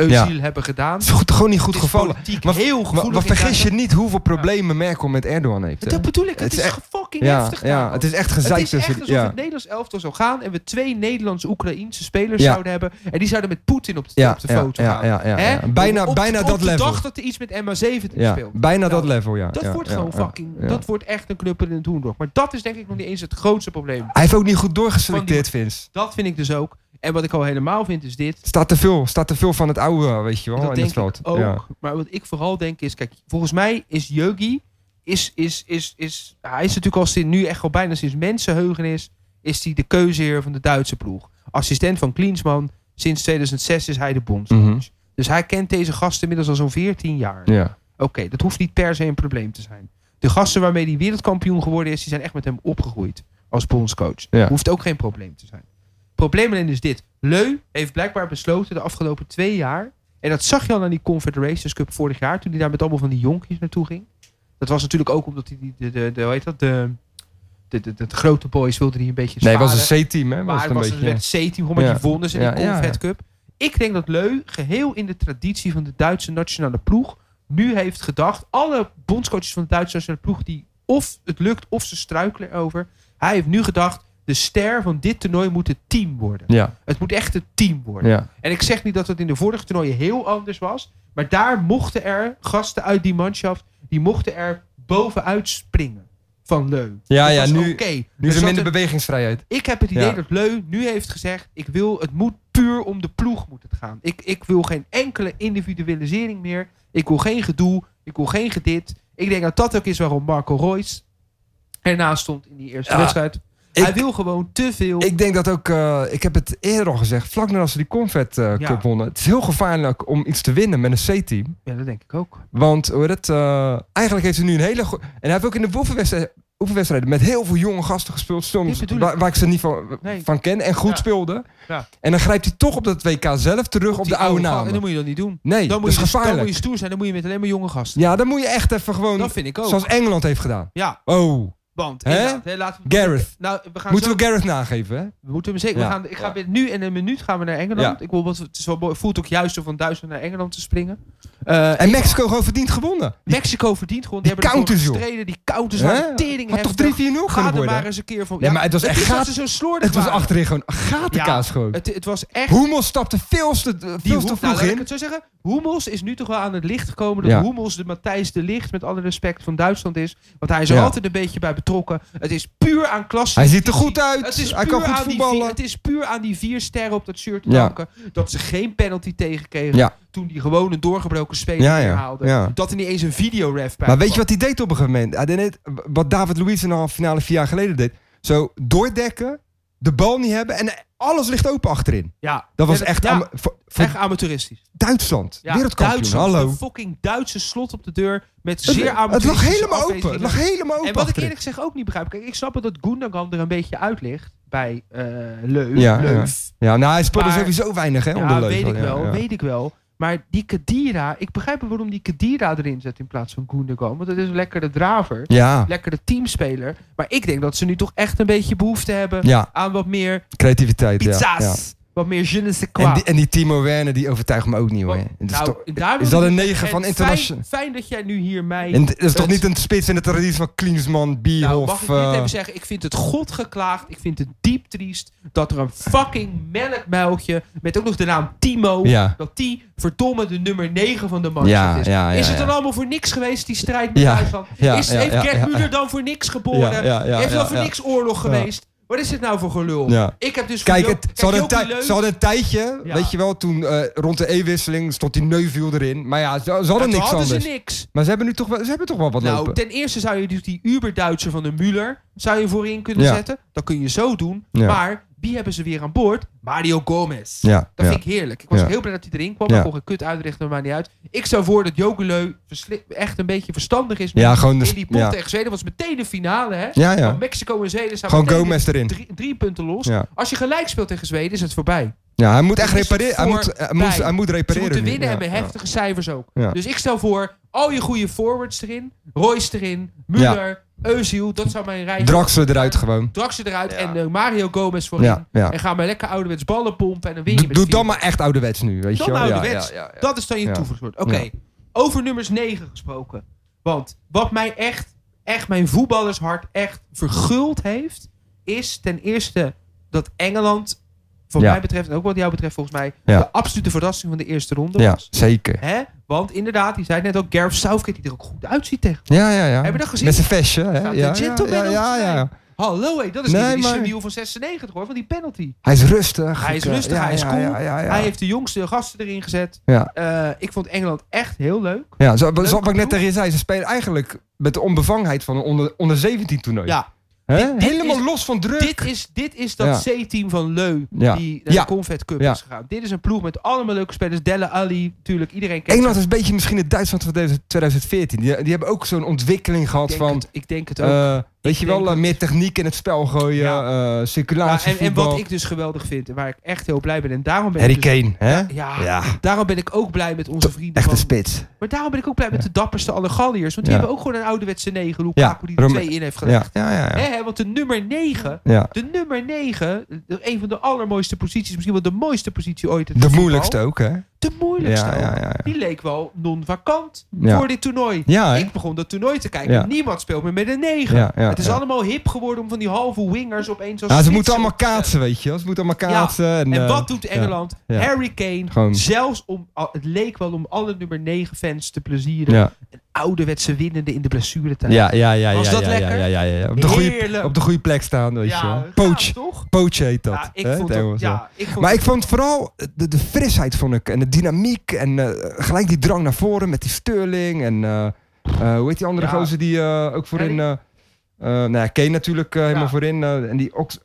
Speaker 1: Özil hebben gedaan.
Speaker 2: Het is goed, gewoon niet goed
Speaker 1: Het is
Speaker 2: gevallen.
Speaker 1: Politiek
Speaker 2: Maar-
Speaker 1: heel
Speaker 2: Maar,
Speaker 1: gevoelig.
Speaker 2: maar
Speaker 1: in
Speaker 2: vergis je
Speaker 1: Duitsland.
Speaker 2: niet hoeveel problemen Merkel met Erdogan heeft. hè?
Speaker 1: Dat bedoel ik. Het,
Speaker 2: Het is
Speaker 1: is,
Speaker 2: echt-
Speaker 1: fucking
Speaker 2: Ja,
Speaker 1: heftig.
Speaker 2: ja,
Speaker 1: namelijk.
Speaker 2: het is echt
Speaker 1: Het
Speaker 2: gezeik
Speaker 1: is echt
Speaker 2: tussen...
Speaker 1: alsof
Speaker 2: ja.
Speaker 1: het Nederlands elftal zou gaan en we twee Nederlandse-Oekraïnse spelers
Speaker 2: Ja.
Speaker 1: zouden hebben. En die zouden met Poetin op de,
Speaker 2: Ja,
Speaker 1: op de
Speaker 2: ja,
Speaker 1: foto
Speaker 2: ja,
Speaker 1: gaan.
Speaker 2: ja, ja,
Speaker 1: Hè?
Speaker 2: ja. Bijna,
Speaker 1: Op- op-
Speaker 2: bijna
Speaker 1: op
Speaker 2: dat
Speaker 1: de
Speaker 2: level.
Speaker 1: dag dat er iets met MA17
Speaker 2: Ja,
Speaker 1: speelt.
Speaker 2: bijna
Speaker 1: Nou,
Speaker 2: dat level, ja.
Speaker 1: Dat
Speaker 2: Ja,
Speaker 1: wordt
Speaker 2: ja,
Speaker 1: gewoon
Speaker 2: ja,
Speaker 1: fucking.
Speaker 2: ja.
Speaker 1: Dat wordt echt een knuppel in het hoendrok. Maar dat is denk ik nog niet eens het grootste probleem.
Speaker 2: Hij heeft ook niet goed doorgeselecteerd, Vince.
Speaker 1: Dat vind ik dus ook. En wat ik al helemaal vind is dit.
Speaker 2: Staat te veel, staat te veel van het oude, weet je wel,
Speaker 1: dat
Speaker 2: Oh, in
Speaker 1: denk
Speaker 2: het veld.
Speaker 1: ik ook.
Speaker 2: Ja.
Speaker 1: Maar wat ik vooral denk is, kijk, volgens mij is Yogi. Is, is, is, is, nou, hij is natuurlijk al sinds nu echt al bijna sinds mensenheugenis. Is hij de keuzeheer van de Duitse ploeg. Assistent van Klinsman. Sinds 2006 is hij de bondscoach.
Speaker 2: Mhm.
Speaker 1: Dus hij kent deze gasten inmiddels al zo'n 14 jaar.
Speaker 2: Ja.
Speaker 1: Oké, dat hoeft niet per se een probleem te zijn. De gasten waarmee hij wereldkampioen geworden is, die zijn echt met hem opgegroeid als bondscoach.
Speaker 2: Ja.
Speaker 1: Hoeft ook geen probleem te zijn. Probleem alleen is dit. Leu heeft blijkbaar besloten de afgelopen twee jaar, en dat zag je al aan die Confederations Cup vorig jaar, toen hij daar met allemaal van die jonkjes naartoe ging. Dat was natuurlijk ook omdat hij die, de, de, de, hoe heet dat, de, de, de, de, de grote boys wilde hij een beetje
Speaker 2: Nee, het
Speaker 1: sparen.
Speaker 2: was een C-team, hè? Was
Speaker 1: Maar
Speaker 2: het
Speaker 1: het
Speaker 2: een
Speaker 1: was
Speaker 2: beetje.
Speaker 1: een werd C-team, gewoon maar
Speaker 2: Ja.
Speaker 1: die wonnen ze in
Speaker 2: Ja,
Speaker 1: die
Speaker 2: ja,
Speaker 1: Confed
Speaker 2: ja.
Speaker 1: Cup. Ik denk dat Leu, geheel in de traditie van de Duitse nationale ploeg, nu heeft gedacht, alle bondscoaches van de Duitse nationale ploeg, die of het lukt of ze struikelen over, hij heeft nu gedacht, de ster van dit toernooi moet het team worden.
Speaker 2: Ja,
Speaker 1: Het moet echt het team worden.
Speaker 2: ja.
Speaker 1: En ik zeg niet dat het in de vorige toernooien heel anders was, maar daar mochten er gasten uit die manschaft, die mochten er bovenuit springen van Leu.
Speaker 2: Ja,
Speaker 1: Dat
Speaker 2: ja,
Speaker 1: was
Speaker 2: nu-
Speaker 1: oké.
Speaker 2: Nu
Speaker 1: Er
Speaker 2: is er
Speaker 1: zat
Speaker 2: minder
Speaker 1: een-
Speaker 2: bewegingsvrijheid.
Speaker 1: ik heb het idee
Speaker 2: Ja.
Speaker 1: dat Leu nu heeft gezegd: ik wil, het moet puur om de ploeg moet het gaan. Ik, ik wil geen enkele individualisering meer. Ik wil geen gedoe. Ik wil geen gedit. Ik denk dat dat ook is waarom Marco Royce ernaast stond in die eerste
Speaker 2: Ja,
Speaker 1: wedstrijd. Hij
Speaker 2: ik-
Speaker 1: wil gewoon te veel.
Speaker 2: Ik denk dat ook, eh, ik heb het eerder al gezegd, vlak nadat ze die Confed eh,
Speaker 1: Ja.
Speaker 2: Cup wonnen. Het is heel gevaarlijk om iets te winnen met een C-team.
Speaker 1: ja, dat denk ik ook.
Speaker 2: Want hoe heet het, eh, eigenlijk heeft ze nu een hele goede... En hij heeft ook in de oefenwedstrijd- oefenwedstrijden met heel veel jonge gasten gespeeld. Soms
Speaker 1: Dit bedoel
Speaker 2: waar, waar ik ze niet van,
Speaker 1: Nee.
Speaker 2: van ken en goed
Speaker 1: Ja.
Speaker 2: speelden.
Speaker 1: Ja.
Speaker 2: En dan grijpt hij toch op dat WK zelf terug op,
Speaker 1: die
Speaker 2: de oude
Speaker 1: ga- En
Speaker 2: namen.
Speaker 1: dat moet je dat niet doen. Dan
Speaker 2: Nee,
Speaker 1: moet,
Speaker 2: dat
Speaker 1: je dus-
Speaker 2: is
Speaker 1: dan moet
Speaker 2: gevaarlijk.
Speaker 1: je stoer zijn. Dan moet je met alleen maar jonge gasten.
Speaker 2: Ja, dan moet je echt even gewoon...
Speaker 1: Dat vind ik ook.
Speaker 2: Zoals Engeland heeft gedaan.
Speaker 1: Ja,
Speaker 2: Oh,
Speaker 1: want
Speaker 2: Hè?
Speaker 1: inderdaad, hè, laten we...
Speaker 2: Gareth.
Speaker 1: Nou, we gaan
Speaker 2: Moeten
Speaker 1: zo-
Speaker 2: we Gareth nageven, hè?
Speaker 1: We moeten hem zeker.
Speaker 2: Ja.
Speaker 1: We gaan, ik ga binnen- nu in een minuut gaan we naar Engeland. Ik wil, wat, het is wel mooi, voelt ook juist om van Duitsland naar Engeland te springen. Eh,
Speaker 2: En Mexico gewoon verdiend gewonnen.
Speaker 1: Mexico verdient gewoon. Die,
Speaker 2: die
Speaker 1: hebben ervoor
Speaker 2: counters, joh.
Speaker 1: gestreden. Die counters
Speaker 2: Hè?
Speaker 1: waren tering
Speaker 2: Had toch 3-4-0
Speaker 1: heftig.
Speaker 2: kunnen
Speaker 1: Ga er maar
Speaker 2: worden?
Speaker 1: eens een keer van.
Speaker 2: Nee, maar het was echt
Speaker 1: is dat
Speaker 2: gaat-
Speaker 1: ze zo slordig
Speaker 2: Het was
Speaker 1: waren.
Speaker 2: achterin gewoon gatenkaas gewoon.
Speaker 1: Het, het was echt...
Speaker 2: Hummels stapte veel te, veel
Speaker 1: Hummels-
Speaker 2: te
Speaker 1: nou,
Speaker 2: vroeg
Speaker 1: laat ik
Speaker 2: in.
Speaker 1: het zo zeggen. Hummels is nu toch wel aan het licht gekomen dat
Speaker 2: Ja.
Speaker 1: Hummels de Matthijs de Licht met alle respect van Duitsland is. Want hij is er
Speaker 2: Ja.
Speaker 1: altijd een beetje bij betrokken. Het is puur aan klasse.
Speaker 2: Hij ziet er goed
Speaker 1: Het
Speaker 2: uit.
Speaker 1: is,
Speaker 2: Hij
Speaker 1: puur
Speaker 2: kan goed
Speaker 1: aan die vier,
Speaker 2: voetballen.
Speaker 1: het is puur aan die vier sterren op dat shirt te
Speaker 2: Ja.
Speaker 1: danken. Dat ze geen penalty tegenkregen.
Speaker 2: Ja.
Speaker 1: Toen die gewoon een doorgebroken speler
Speaker 2: Ja,
Speaker 1: ja,
Speaker 2: ja, ja.
Speaker 1: Dat er niet eens een videoref bij
Speaker 2: Maar weet
Speaker 1: kwam.
Speaker 2: je wat hij deed op een gegeven moment? Hij deed net wat David Luiz in de halve finale vier jaar geleden deed. Zo doordekken, de bal niet hebben en alles ligt open achterin.
Speaker 1: Ja.
Speaker 2: Dat was
Speaker 1: Ja,
Speaker 2: echt,
Speaker 1: ja,
Speaker 2: ama- voor, voor
Speaker 1: echt amateuristisch.
Speaker 2: Duitsland.
Speaker 1: Ja,
Speaker 2: Wereldkampioen,
Speaker 1: Duitsland,
Speaker 2: hallo.
Speaker 1: een fucking Duitse slot op de deur. Met
Speaker 2: Het,
Speaker 1: zeer
Speaker 2: het lag
Speaker 1: amateuristische
Speaker 2: helemaal open. Het
Speaker 1: afwezigingen.
Speaker 2: lag helemaal open
Speaker 1: En wat ik
Speaker 2: achterin.
Speaker 1: eerlijk gezegd ook niet begrijp. Kijk, ik snap het dat Gundogan er een beetje uit ligt bij eh Leu.
Speaker 2: Ja,
Speaker 1: Leuf.
Speaker 2: Ja, nou, hij speelde
Speaker 1: Maar-
Speaker 2: sowieso weinig, hè?
Speaker 1: Ja,
Speaker 2: onder Leuk.
Speaker 1: weet ik
Speaker 2: Ja,
Speaker 1: wel,
Speaker 2: ja.
Speaker 1: weet ik wel. Maar die Kadira, ik begrijp wel waarom die Kadira erin zet in plaats van Gundogan. Want dat is een lekkere draver,
Speaker 2: Ja,
Speaker 1: lekkere teamspeler. Maar ik denk dat ze nu toch echt een beetje behoefte hebben
Speaker 2: ja,
Speaker 1: aan wat meer
Speaker 2: creativiteit. ja,
Speaker 1: pizza's.
Speaker 2: ja.
Speaker 1: Wat meer je ne sais quoi.
Speaker 2: En, die, en die Timo Werner, die overtuigt me ook niet, hoor.
Speaker 1: Wat-
Speaker 2: Dat is
Speaker 1: nou,
Speaker 2: toch-
Speaker 1: daar wil
Speaker 2: is
Speaker 1: ik
Speaker 2: dat
Speaker 1: dus-
Speaker 2: een negen
Speaker 1: en
Speaker 2: van
Speaker 1: fijn-
Speaker 2: international?
Speaker 1: Fijn, dat jij nu hier mij...
Speaker 2: En dat is toch
Speaker 1: Het-
Speaker 2: niet een spits in de traditie van Klinsman,
Speaker 1: Nou,
Speaker 2: Bierhoff...
Speaker 1: mag ik dit
Speaker 2: eh,
Speaker 1: even zeggen? Ik vind het godgeklaagd. Ik vind het diep triest dat er een fucking melkmuiltje met ook nog de naam Timo...
Speaker 2: Ja.
Speaker 1: Dat die verdomme de nummer 9 van de Manchester
Speaker 2: Ja,
Speaker 1: is.
Speaker 2: ja, ja,
Speaker 1: is het dan
Speaker 2: ja.
Speaker 1: allemaal voor niks geweest, die strijd met
Speaker 2: Ja,
Speaker 1: Duitsland?
Speaker 2: ja,
Speaker 1: is,
Speaker 2: ja,
Speaker 1: heeft
Speaker 2: ja,
Speaker 1: Gerd
Speaker 2: ja,
Speaker 1: Müller
Speaker 2: ja.
Speaker 1: dan voor niks geboren?
Speaker 2: Ja, ja, ja,
Speaker 1: heeft dan
Speaker 2: ja,
Speaker 1: voor
Speaker 2: ja.
Speaker 1: niks oorlog
Speaker 2: Ja.
Speaker 1: geweest? Wat is dit nou voor gelul?
Speaker 2: Ja.
Speaker 1: Ik heb dus
Speaker 2: Kijk,
Speaker 1: voor
Speaker 2: het, ze, hadden een
Speaker 1: Jopie
Speaker 2: tij-
Speaker 1: Leus-
Speaker 2: ze hadden een tijdje,
Speaker 1: Ja.
Speaker 2: weet je wel, toen eh, rond de E-wisseling stond die Neuviel erin. Maar ja, ze, ze hadden
Speaker 1: Ja, toen
Speaker 2: niks
Speaker 1: hadden
Speaker 2: anders.
Speaker 1: ze niks.
Speaker 2: Maar ze hebben nu toch wel, ze hebben toch wel wat
Speaker 1: Nou,
Speaker 2: lopen.
Speaker 1: ten eerste zou je dus die Uber-Duitser van de Müller zou je voorin kunnen
Speaker 2: Ja.
Speaker 1: zetten. Dat kun je zo doen.
Speaker 2: Ja.
Speaker 1: Maar wie hebben ze weer aan boord? Mario Gomez.
Speaker 2: Ja,
Speaker 1: Dat
Speaker 2: ja.
Speaker 1: vind ik heerlijk. Ik was
Speaker 2: Ja.
Speaker 1: heel blij dat hij erin kwam.
Speaker 2: Ja.
Speaker 1: Maar kon geen kut uitrichten, maar niet uit. Ik zou voor dat Jokeleu versli- echt een beetje verstandig is. nu
Speaker 2: ja, gewoon de,
Speaker 1: in die pot
Speaker 2: ja.
Speaker 1: tegen Zweden was meteen de finale, hè?
Speaker 2: Ja, ja.
Speaker 1: Van Mexico en Zweden staan
Speaker 2: Gewoon
Speaker 1: meteen
Speaker 2: Gomez erin.
Speaker 1: drie, drie punten los.
Speaker 2: Ja.
Speaker 1: Als je gelijk speelt tegen Zweden, is het voorbij.
Speaker 2: ja, hij moet echt
Speaker 1: Dan is het
Speaker 2: repareren. Hij moet,
Speaker 1: voorbij.
Speaker 2: hij moet, hij moet
Speaker 1: Ze
Speaker 2: repareren
Speaker 1: moeten
Speaker 2: nu.
Speaker 1: winnen
Speaker 2: Ja,
Speaker 1: en met
Speaker 2: ja.
Speaker 1: heftige cijfers ook.
Speaker 2: Ja.
Speaker 1: Dus ik stel voor, al je goede forwards erin. Royce erin, Müller, Eusiel, dat zou mijn rij
Speaker 2: Draxler eruit gewoon.
Speaker 1: Draxler eruit
Speaker 2: Ja.
Speaker 1: en eh, Mario Gomez voorin.
Speaker 2: Ja, ja.
Speaker 1: En ga maar lekker ouderwets ballen pompen en dan win je
Speaker 2: Doe,
Speaker 1: met
Speaker 2: doe
Speaker 1: vier.
Speaker 2: dan maar echt ouderwets nu, weet
Speaker 1: Dan
Speaker 2: je wel. Ja,
Speaker 1: ouderwets.
Speaker 2: ja, ja, ja.
Speaker 1: Dat is dan je
Speaker 2: Ja.
Speaker 1: toevoegswoord. Oké,
Speaker 2: Ja.
Speaker 1: over nummers 9 gesproken. Want wat mij echt, echt mijn voetballershart echt verguld heeft... is ten eerste dat Engeland, wat
Speaker 2: Ja.
Speaker 1: mij betreft... en ook wat jou betreft volgens mij...
Speaker 2: Ja.
Speaker 1: de absolute verrassing van de eerste ronde
Speaker 2: Ja,
Speaker 1: was.
Speaker 2: zeker.
Speaker 1: Hè? Want inderdaad, die zei net ook... Gareth Southgate, die er ook goed uitziet tegen.
Speaker 2: Ja, ja, ja.
Speaker 1: Heb je dat gezien?
Speaker 2: Met zijn vestje, hè? Ja,
Speaker 1: Gaat
Speaker 2: ja,
Speaker 1: de gentleman
Speaker 2: ja,
Speaker 1: om te
Speaker 2: ja,
Speaker 1: zijn.
Speaker 2: ja.
Speaker 1: Hallo hé, dat is
Speaker 2: Nee,
Speaker 1: niet die
Speaker 2: maar-
Speaker 1: Semiel van 96 hoor, van die penalty.
Speaker 2: Hij is rustig.
Speaker 1: Hij is
Speaker 2: Ik, eh,
Speaker 1: rustig,
Speaker 2: ja,
Speaker 1: hij is
Speaker 2: ja,
Speaker 1: cool.
Speaker 2: Ja, ja, ja.
Speaker 1: Hij heeft de jongste gasten erin gezet.
Speaker 2: Ja.
Speaker 1: Eh, ik vond Engeland echt heel leuk.
Speaker 2: Ja, zo, zo- wat ik
Speaker 1: ploeg.
Speaker 2: net tegen je zei, ze spelen eigenlijk met de onbevangenheid van een onder, onder 17 toernooi.
Speaker 1: Ja,
Speaker 2: Hè?
Speaker 1: dit- dit
Speaker 2: Helemaal
Speaker 1: is-
Speaker 2: los van druk.
Speaker 1: Dit is, dit is dat C-team van Leu
Speaker 2: Ja.
Speaker 1: die naar
Speaker 2: Ja.
Speaker 1: de Confed Cup
Speaker 2: Ja.
Speaker 1: is gegaan. Dit is een ploeg met allemaal leuke spelers. Delle Ali, natuurlijk. Iedereen kent
Speaker 2: Engeland
Speaker 1: ze.
Speaker 2: is een beetje misschien het Duitsland van deze- 2014. Die, die hebben ook zo'n ontwikkeling
Speaker 1: Ik
Speaker 2: gehad
Speaker 1: denk,
Speaker 2: van,
Speaker 1: het, ik denk het ook.
Speaker 2: eh, weet je wel,
Speaker 1: denk
Speaker 2: eh, meer techniek in het spel gooien, eh,
Speaker 1: Ja,
Speaker 2: circulatie,
Speaker 1: en, en wat
Speaker 2: voetbal.
Speaker 1: ik dus geweldig vind en waar ik echt heel blij ben. En daarom ben,
Speaker 2: Harry
Speaker 1: ik, dus-
Speaker 2: Kane, hè?
Speaker 1: ja,
Speaker 2: Ja,
Speaker 1: daarom ben ik ook blij met onze vrienden.
Speaker 2: echte
Speaker 1: van-
Speaker 2: spits.
Speaker 1: maar daarom ben ik ook blij met de dapperste alle Galliërs. Want die
Speaker 2: Ja.
Speaker 1: hebben ook gewoon een ouderwetse 9. Lukaku die er
Speaker 2: Rome-
Speaker 1: twee in heeft gedaan.
Speaker 2: Ja, ja, ja. ja.
Speaker 1: Hè, hè, want de nummer 9,
Speaker 2: ja.
Speaker 1: de nummer 9, een van de allermooiste posities, misschien wel de mooiste positie ooit. in het
Speaker 2: De
Speaker 1: voetbal.
Speaker 2: moeilijkste ook, hè? Ja,
Speaker 1: De moeilijkste.
Speaker 2: ja,
Speaker 1: ook.
Speaker 2: ja. ja.
Speaker 1: Die leek wel non-vakant
Speaker 2: Ja.
Speaker 1: voor dit toernooi.
Speaker 2: Ja, hè?
Speaker 1: Ik begon dat toernooi te kijken.
Speaker 2: Ja.
Speaker 1: Niemand speelt meer met een 9.
Speaker 2: Ja, ja,
Speaker 1: het is
Speaker 2: ja.
Speaker 1: allemaal hip geworden om van die halve wingers opeens als
Speaker 2: Ja, Nou, ze
Speaker 1: spitsen
Speaker 2: moeten allemaal
Speaker 1: op te zetten.
Speaker 2: kaatsen, weet je wel. Ze moeten allemaal
Speaker 1: Ja,
Speaker 2: kaatsen. En,
Speaker 1: En
Speaker 2: eh,
Speaker 1: wat doet Engeland?
Speaker 2: ja.
Speaker 1: Harry Kane.
Speaker 2: Gewoon-
Speaker 1: Zelfs om, al- het leek wel om alle nummer 9 fans te plezieren.
Speaker 2: Ja.
Speaker 1: ouderwetse winnende in de blessuretijd.
Speaker 2: Ja, ja, ja,
Speaker 1: Was
Speaker 2: ja,
Speaker 1: dat
Speaker 2: ja, ja,
Speaker 1: lekker?
Speaker 2: ja, ja, ja. Op de goede,
Speaker 1: Heerlijk.
Speaker 2: op de goede plek staan, weet je wel.
Speaker 1: gaaf,
Speaker 2: Poach,
Speaker 1: toch?
Speaker 2: poach heet dat.
Speaker 1: Ja, ik
Speaker 2: hè,
Speaker 1: vond
Speaker 2: het
Speaker 1: dat,
Speaker 2: Engels, ja.
Speaker 1: ja, ik vond
Speaker 2: Maar
Speaker 1: dat-
Speaker 2: ik vond vooral de, de frisheid vond ik, en de dynamiek en eh, gelijk die drang naar voren met die Sterling en eh, eh, hoe heet die andere
Speaker 1: Ja.
Speaker 2: gozer die eh, ook voorin... eh eh nou ja, Kane natuurlijk eh, helemaal
Speaker 1: Ja.
Speaker 2: voorin eh, en die Ox...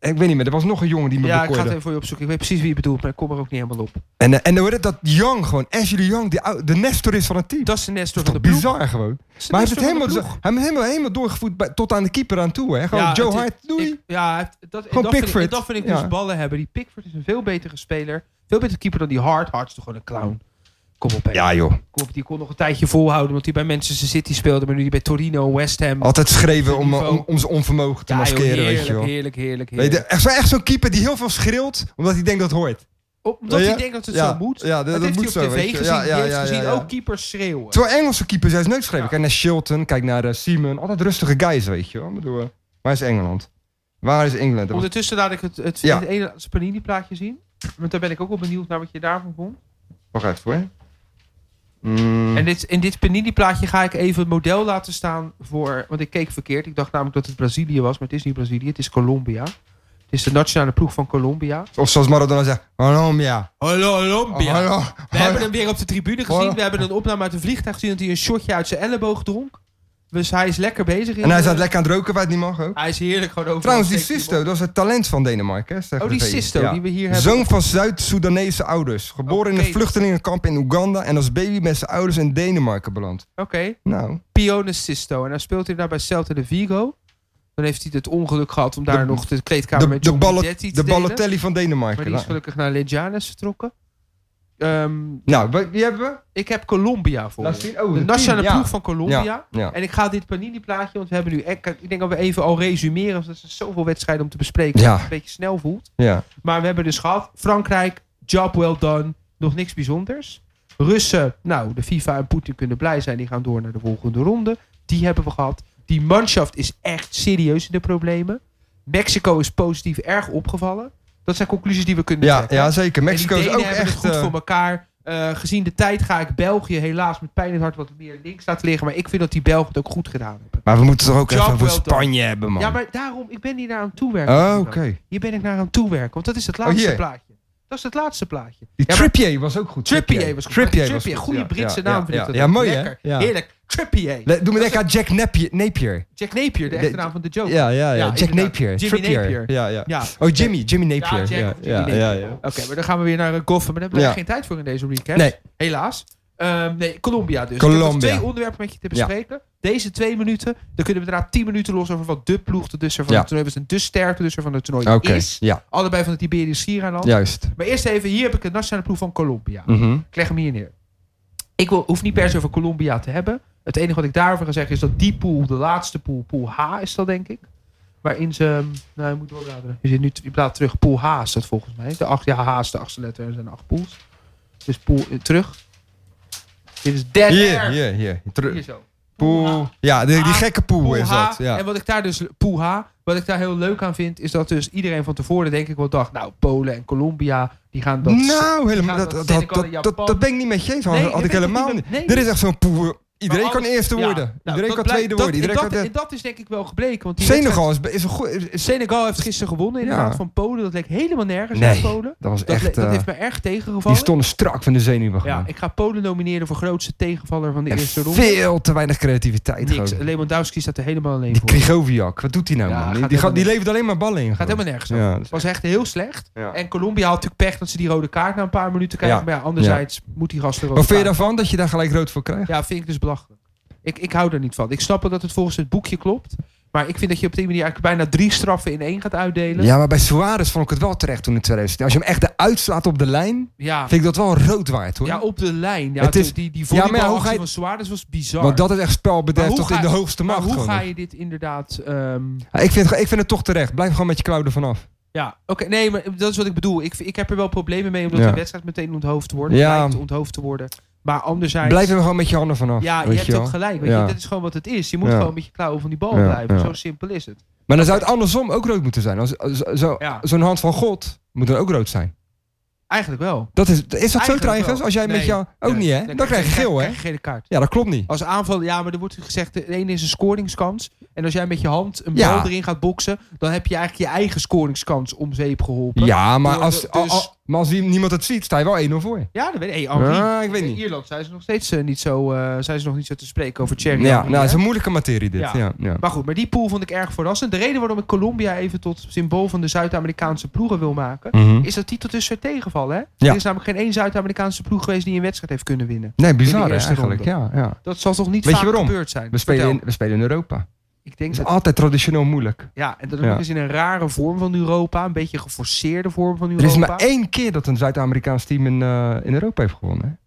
Speaker 2: Ik weet niet meer, er was nog een jongen die me
Speaker 1: ja, ik ga
Speaker 2: bekoorde.
Speaker 1: het even voor je opzoeken. Ik weet precies wie je bedoelt, maar ik kom er ook niet helemaal op.
Speaker 2: En, eh, en dan werd het dat Young gewoon, Ashley de Young, die, ou- de Nestor is van het team.
Speaker 1: Dat is de Nestor
Speaker 2: Dat
Speaker 1: van
Speaker 2: is
Speaker 1: de
Speaker 2: toch
Speaker 1: ploeg.
Speaker 2: bizar gewoon.
Speaker 1: Dat is de
Speaker 2: Maar hij heeft, het
Speaker 1: Nestor van
Speaker 2: helemaal,
Speaker 1: de
Speaker 2: hij
Speaker 1: ploeg.
Speaker 2: heeft het helemaal, helemaal doorgevoerd bij- tot aan de keeper aan toe. Hè? Gewoon
Speaker 1: Ja,
Speaker 2: Joe
Speaker 1: het-
Speaker 2: Hart, doei.
Speaker 1: Ik- ja, dat, en
Speaker 2: Gewoon
Speaker 1: dat vind ik- en
Speaker 2: Pickford.
Speaker 1: dat vind ik
Speaker 2: Ja.
Speaker 1: dus ballen hebben. Die Pickford is een veel betere speler. Veel betere keeper dan die Hart. Hart is toch gewoon een clown. Kom op, hè.
Speaker 2: ja joh,
Speaker 1: Kom op, die kon nog een tijdje volhouden. Want die bij Manchester City speelde. Maar nu die bij Torino, West Ham.
Speaker 2: altijd schreeuwen om,
Speaker 1: Niveau.
Speaker 2: om, om zijn onvermogen te
Speaker 1: Ja, joh,
Speaker 2: maskeren,
Speaker 1: heerlijk,
Speaker 2: weet je wel.
Speaker 1: heerlijk, heerlijk,
Speaker 2: Weet je,
Speaker 1: heerlijk.
Speaker 2: echt zo- echt zo'n keeper die heel veel schreeuwt, omdat hij denkt dat het hoort.
Speaker 1: Omdat
Speaker 2: Ja,
Speaker 1: hij
Speaker 2: ja.
Speaker 1: denkt dat het
Speaker 2: Ja,
Speaker 1: zo moet.
Speaker 2: ja, dat-
Speaker 1: dat,
Speaker 2: dat
Speaker 1: heeft
Speaker 2: moet
Speaker 1: hij
Speaker 2: zo,
Speaker 1: op
Speaker 2: weet
Speaker 1: tv
Speaker 2: je.
Speaker 1: gezien.
Speaker 2: Ja, ja,
Speaker 1: die heeft
Speaker 2: ja, ja,
Speaker 1: gezien
Speaker 2: ja.
Speaker 1: ook keepers schreeuwen.
Speaker 2: Terwijl Engelse keepers juist neuk schreeuwen.
Speaker 1: Ja.
Speaker 2: Kijk naar Shilton, kijk naar eh, Simon. Altijd rustige guys, weet je wel. Ik bedoel, eh, waar is Engeland? Waar is Engeland? Dat was-
Speaker 1: Ondertussen laat ik het, het,
Speaker 2: Ja.
Speaker 1: het ene Panini-plaatje zien. Want daar ben ik ook wel benieuwd naar wat je daarvan vond.
Speaker 2: Wacht even hoor. Mm.
Speaker 1: En dit, in dit Panini-plaatje ga ik even het model laten staan voor... Want ik keek verkeerd. Ik dacht namelijk dat het Brazilië was. Maar het is niet Brazilië, het is Colombia. Het is de nationale ploeg van Colombia.
Speaker 2: Of zoals Maradona zegt, Colombia.
Speaker 1: Hallo,
Speaker 2: Oh, hallo.
Speaker 1: We hebben hem weer op de tribune gezien.
Speaker 2: Hallo.
Speaker 1: We hebben een opname uit een vliegtuig gezien... dat hij een shotje uit zijn elleboog dronk. Dus hij is lekker bezig. in
Speaker 2: En hij
Speaker 1: de-
Speaker 2: staat lekker aan het roken waar het niet mag ook.
Speaker 1: Hij is heerlijk gewoon over.
Speaker 2: Trouwens, die Sisto, dat was het talent van Denemarken. Hè, zeggen
Speaker 1: Oh, die
Speaker 2: de VS.
Speaker 1: Sisto
Speaker 2: Ja.
Speaker 1: die we hier hebben.
Speaker 2: Zoon van Zuid-Soedanese ouders. Geboren in
Speaker 1: Oké.
Speaker 2: een vluchtelingenkamp in Oeganda en als baby met zijn ouders in Denemarken beland.
Speaker 1: Oké.
Speaker 2: Nou,
Speaker 1: Pione Sisto. En dan speelt hij daar bij Celta de Vigo. Dan heeft hij het ongeluk gehad om daar
Speaker 2: De-
Speaker 1: nog de kleedkamer
Speaker 2: de,
Speaker 1: met
Speaker 2: de,
Speaker 1: Johnny
Speaker 2: ballet-
Speaker 1: Detti te
Speaker 2: de
Speaker 1: delen.
Speaker 2: Balotelli van
Speaker 1: Maar
Speaker 2: Denemarken.
Speaker 1: die is
Speaker 2: Nou,
Speaker 1: gelukkig naar Legianes vertrokken. Ehm,
Speaker 2: nou, wie- wie hebben we?
Speaker 1: ik heb Colombia voor
Speaker 2: Laat
Speaker 1: je.
Speaker 2: zien. Oh,
Speaker 1: De
Speaker 2: team,
Speaker 1: nationale
Speaker 2: ja.
Speaker 1: ploeg van Colombia.
Speaker 2: Ja, ja.
Speaker 1: En ik ga dit panini plaatje, want we hebben nu... Ik ik denk dat we even al resumeren, want er zijn zoveel wedstrijden om te bespreken.
Speaker 2: Ja.
Speaker 1: Dat het een beetje snel voelt.
Speaker 2: ja.
Speaker 1: Maar we hebben dus gehad Frankrijk, job well done, nog niks bijzonders. Russen, nou, de FIFA en Poetin kunnen blij zijn, die gaan door naar de volgende ronde. Die hebben we gehad. Die manschaft is echt serieus in de problemen. Mexico is positief erg opgevallen. Dat zijn conclusies die we kunnen
Speaker 2: Ja,
Speaker 1: trekken.
Speaker 2: ja, zeker.
Speaker 1: eh, En die
Speaker 2: Mexico is
Speaker 1: Denen
Speaker 2: ook
Speaker 1: hebben het
Speaker 2: echt...
Speaker 1: goed
Speaker 2: eh,
Speaker 1: voor elkaar. Eh, gezien de tijd ga ik België helaas met pijn in het hart wat meer links laten liggen. Maar ik vind dat die Belgen het ook goed gedaan hebben.
Speaker 2: maar we moeten toch ook
Speaker 1: Job
Speaker 2: even voor
Speaker 1: well done.
Speaker 2: Spanje hebben, man.
Speaker 1: Ja, maar daarom, ik ben hier naar aan toewerken.
Speaker 2: Oh, oké.
Speaker 1: Hier ben ik naar aan toewerken, want dat is het
Speaker 2: Oh,
Speaker 1: laatste
Speaker 2: hier.
Speaker 1: plaatje. Dat is het laatste plaatje.
Speaker 2: Die
Speaker 1: Ja, maar-
Speaker 2: Trippier was ook goed.
Speaker 1: Trippier was goed.
Speaker 2: Trippier was
Speaker 1: Trippier,
Speaker 2: goed,
Speaker 1: goede
Speaker 2: ja.
Speaker 1: Britse
Speaker 2: Ja,
Speaker 1: naam
Speaker 2: ja,
Speaker 1: vind ik
Speaker 2: ja.
Speaker 1: dat.
Speaker 2: Ja,
Speaker 1: ook.
Speaker 2: mooi, hè?
Speaker 1: Lekker.
Speaker 2: Ja.
Speaker 1: Heerlijk. Trippier.
Speaker 2: Le- Doe me denken aan Jack Napier. Napier.
Speaker 1: Jack Napier, de echte
Speaker 2: Le-
Speaker 1: naam van de Joker.
Speaker 2: Ja, ja,
Speaker 1: Ja,
Speaker 2: ja. Jack
Speaker 1: inderdaad.
Speaker 2: Napier.
Speaker 1: Jimmy
Speaker 2: Trippier.
Speaker 1: Napier.
Speaker 2: Ja, ja.
Speaker 1: Ja.
Speaker 2: Oh, Jimmy.
Speaker 1: Ja,
Speaker 2: Jimmy Napier.
Speaker 1: Jack
Speaker 2: Ja,
Speaker 1: of Jimmy
Speaker 2: ja,
Speaker 1: Napier.
Speaker 2: ja, ja.
Speaker 1: Oké, maar dan gaan we weer naar eh, Goffen. Maar daar hebben we
Speaker 2: Ja.
Speaker 1: geen tijd voor in deze recap.
Speaker 2: Nee.
Speaker 1: Helaas. Ehm, nee, Colombia dus.
Speaker 2: Colombia.
Speaker 1: Ik heb nog twee onderwerpen met je te bespreken. Deze twee minuten. Dan kunnen we daarna tien minuten los over wat de ploeg de dusser van
Speaker 2: Ja.
Speaker 1: het toernooi was. En de sterkte dusser van het toernooi
Speaker 2: Oké.
Speaker 1: is.
Speaker 2: Ja,
Speaker 1: Allebei van het Iberisch Schiereiland.
Speaker 2: juist.
Speaker 1: Maar eerst even, hier heb ik het nationale ploeg van Colombia.
Speaker 2: Mhm.
Speaker 1: Ik leg hem hier neer. Ik wil, hoef niet per se over Colombia te hebben. Het enige wat ik daarover ga zeggen is dat die pool, de laatste pool, pool H is dat denk ik. Waarin ze, nou je moet doorbladeren. Je zit nu je blaad terug, pool H is dat volgens mij. De acht, ja H is de achtste letter, er zijn acht pools. Dus pool, eh, terug. Dit is dead
Speaker 2: Hier,
Speaker 1: air.
Speaker 2: hier, hier.
Speaker 1: Hier
Speaker 2: Terug.
Speaker 1: zo.
Speaker 2: Poel. Ja, die, die
Speaker 1: Ah,
Speaker 2: gekke poel
Speaker 1: Pool
Speaker 2: is
Speaker 1: H.
Speaker 2: dat. Ja.
Speaker 1: En wat ik daar dus, Pool H, wat ik daar heel leuk aan vind, is dat dus iedereen van tevoren denk ik wel dacht, nou Polen en Colombia, die gaan dat...
Speaker 2: Nou, helemaal,
Speaker 1: gaan
Speaker 2: dat,
Speaker 1: dat
Speaker 2: dat, dat,
Speaker 1: Senegal en
Speaker 2: dat,
Speaker 1: Japan.
Speaker 2: dat ben ik niet met je eens. Had,
Speaker 1: Nee,
Speaker 2: had
Speaker 1: dat
Speaker 2: ik
Speaker 1: ben ik
Speaker 2: helemaal
Speaker 1: niet
Speaker 2: niet.
Speaker 1: met- nee.
Speaker 2: Dit is echt zo'n poel. Iedereen
Speaker 1: Maar
Speaker 2: kan
Speaker 1: alles-
Speaker 2: eerste
Speaker 1: ja,
Speaker 2: worden.
Speaker 1: nou,
Speaker 2: Iedereen
Speaker 1: dat
Speaker 2: kan
Speaker 1: blijkt-
Speaker 2: tweede
Speaker 1: dat-
Speaker 2: worden. Iedereen
Speaker 1: en
Speaker 2: kan
Speaker 1: dat,
Speaker 2: derde.
Speaker 1: en dat is denk ik wel gebleken. Want die
Speaker 2: Senegal is, is een goede...
Speaker 1: wedstrijd- Senegal heeft gisteren gewonnen inderdaad
Speaker 2: Ja.
Speaker 1: van Polen. Dat leek helemaal nergens
Speaker 2: Nee,
Speaker 1: aan Polen.
Speaker 2: dat was
Speaker 1: Dat, le-
Speaker 2: echt...
Speaker 1: dat
Speaker 2: eh,
Speaker 1: heeft me erg
Speaker 2: Die
Speaker 1: tegengevallen.
Speaker 2: stonden strak van de zenuwen
Speaker 1: ja,
Speaker 2: gewoon.
Speaker 1: ik ga Polen nomineren voor grootste tegenvaller van de
Speaker 2: En
Speaker 1: eerste ronde.
Speaker 2: veel te weinig creativiteit
Speaker 1: Niks.
Speaker 2: gewoon.
Speaker 1: Lewandowski staat er helemaal alleen
Speaker 2: Die
Speaker 1: voor.
Speaker 2: Krigoviak, wat doet hij nou
Speaker 1: Ja, gaat
Speaker 2: man? Die, die,
Speaker 1: helemaal
Speaker 2: gaat, die
Speaker 1: niet.
Speaker 2: levert alleen maar ballen in.
Speaker 1: Gaat
Speaker 2: gewoon.
Speaker 1: helemaal nergens over.
Speaker 2: Ja, dat
Speaker 1: Het was echt heel slecht.
Speaker 2: Ja.
Speaker 1: En Colombia had natuurlijk pech dat ze die rode kaart na een paar minuten krijgen.
Speaker 2: Ja.
Speaker 1: Maar ja, anderzijds moet die gast er ook
Speaker 2: Wat vind je
Speaker 1: aan.
Speaker 2: daarvan dat je daar gelijk rood voor krijgt?
Speaker 1: Ja, vind ik dus belachelijk. Ik, ik hou er niet van. Ik snap wel dat het volgens het boekje klopt. Maar ik vind dat je op die manier eigenlijk bijna drie straffen in één gaat uitdelen.
Speaker 2: Ja, maar bij Suarez vond ik het wel terecht toen in 2010. Als je hem echt eruit slaat op de lijn,
Speaker 1: ja.
Speaker 2: vind ik dat wel rood waard hoor.
Speaker 1: Ja, oh, op de lijn. Ja,
Speaker 2: Het is-
Speaker 1: het- die die
Speaker 2: Ja, maar ja, hoe
Speaker 1: volleybalactie
Speaker 2: ga je-
Speaker 1: van Suarez was bizar.
Speaker 2: Want dat is echt
Speaker 1: Maar
Speaker 2: spelbederf
Speaker 1: hoe
Speaker 2: tot
Speaker 1: ga
Speaker 2: in de
Speaker 1: je-
Speaker 2: hoogste
Speaker 1: maar
Speaker 2: macht.
Speaker 1: hoe
Speaker 2: gewoon.
Speaker 1: ga je dit inderdaad... ehm,
Speaker 2: Ja, ik, vind, ik vind het toch terecht. Blijf gewoon met je klauwen vanaf.
Speaker 1: ja, oké. nee, maar dat is wat ik bedoel. Ik, ik heb er wel problemen mee omdat
Speaker 2: Ja.
Speaker 1: de wedstrijd meteen onthoofd wordt.
Speaker 2: Ja.
Speaker 1: Lijkt onthoofd te worden. Maar anderzijds...
Speaker 2: Blijf hem gewoon met je handen vanaf.
Speaker 1: ja, je
Speaker 2: weet
Speaker 1: hebt
Speaker 2: wel.
Speaker 1: ook gelijk. Weet
Speaker 2: Ja.
Speaker 1: je, dat is gewoon wat het is. Je moet
Speaker 2: Ja.
Speaker 1: gewoon met je klauwen van die bal
Speaker 2: Ja,
Speaker 1: blijven.
Speaker 2: ja.
Speaker 1: Zo simpel is het.
Speaker 2: Maar dan zou het andersom ook rood moeten zijn. Als, als- zo,
Speaker 1: Ja.
Speaker 2: Zo'n hand van God moet dan ook rood zijn.
Speaker 1: Eigenlijk wel.
Speaker 2: Dat is, is dat zo
Speaker 1: Eigenlijk
Speaker 2: trouwens?
Speaker 1: wel.
Speaker 2: Als jij met
Speaker 1: Nee.
Speaker 2: jou... Ook
Speaker 1: Nee.
Speaker 2: niet, hè?
Speaker 1: Dan
Speaker 2: Dan krijg je geel, hè?
Speaker 1: krijg je gele kaart.
Speaker 2: Ja, dat klopt niet.
Speaker 1: Als aanval, ja, maar er wordt gezegd, de ene is een scoringskans. En als jij met je hand een
Speaker 2: Ja.
Speaker 1: bal erin gaat boksen, dan heb je eigenlijk je eigen scoringskans om zeep geholpen.
Speaker 2: Ja, maar
Speaker 1: Door
Speaker 2: als,
Speaker 1: de-
Speaker 2: al-
Speaker 1: dus- Oh,
Speaker 2: al- maar als die- niemand het ziet, sta je wel 1-0 voor.
Speaker 1: Ja, dat weet ik. Hey, Henri.
Speaker 2: Ah, ik weet
Speaker 1: In
Speaker 2: niet.
Speaker 1: Ierland zijn ze nog steeds eh, niet zo, eh, zijn ze nog niet zo te spreken over Thierry.
Speaker 2: Ja,
Speaker 1: Henry,
Speaker 2: nou,
Speaker 1: hè?
Speaker 2: het is een moeilijke materie dit.
Speaker 1: Ja.
Speaker 2: Ja, ja.
Speaker 1: Maar goed, maar die pool vond ik erg verrassend. De reden waarom ik Colombia even tot symbool van de Zuid-Amerikaanse ploegen wil maken,
Speaker 2: Mhm.
Speaker 1: is dat die tot dusver tegenvallen. Hè?
Speaker 2: Ja.
Speaker 1: Er is namelijk geen één Zuid-amerikaanse ploeg geweest die een wedstrijd heeft kunnen winnen.
Speaker 2: Nee, bizar hè,
Speaker 1: eerste
Speaker 2: eigenlijk. Ja, ja.
Speaker 1: Dat zal toch niet
Speaker 2: Weet je
Speaker 1: vaak
Speaker 2: waarom?
Speaker 1: gebeurd zijn.
Speaker 2: We, spelen
Speaker 1: Vertel.
Speaker 2: in, we spelen in Europa.
Speaker 1: Ik
Speaker 2: Het
Speaker 1: denk
Speaker 2: is
Speaker 1: dat,
Speaker 2: altijd traditioneel moeilijk.
Speaker 1: ja, en dat
Speaker 2: Ja.
Speaker 1: ook is in een rare vorm van Europa, een beetje een geforceerde vorm van
Speaker 2: Er
Speaker 1: Europa.
Speaker 2: is maar één keer dat een Zuid-Amerikaans team in, eh, in Europa heeft gewonnen.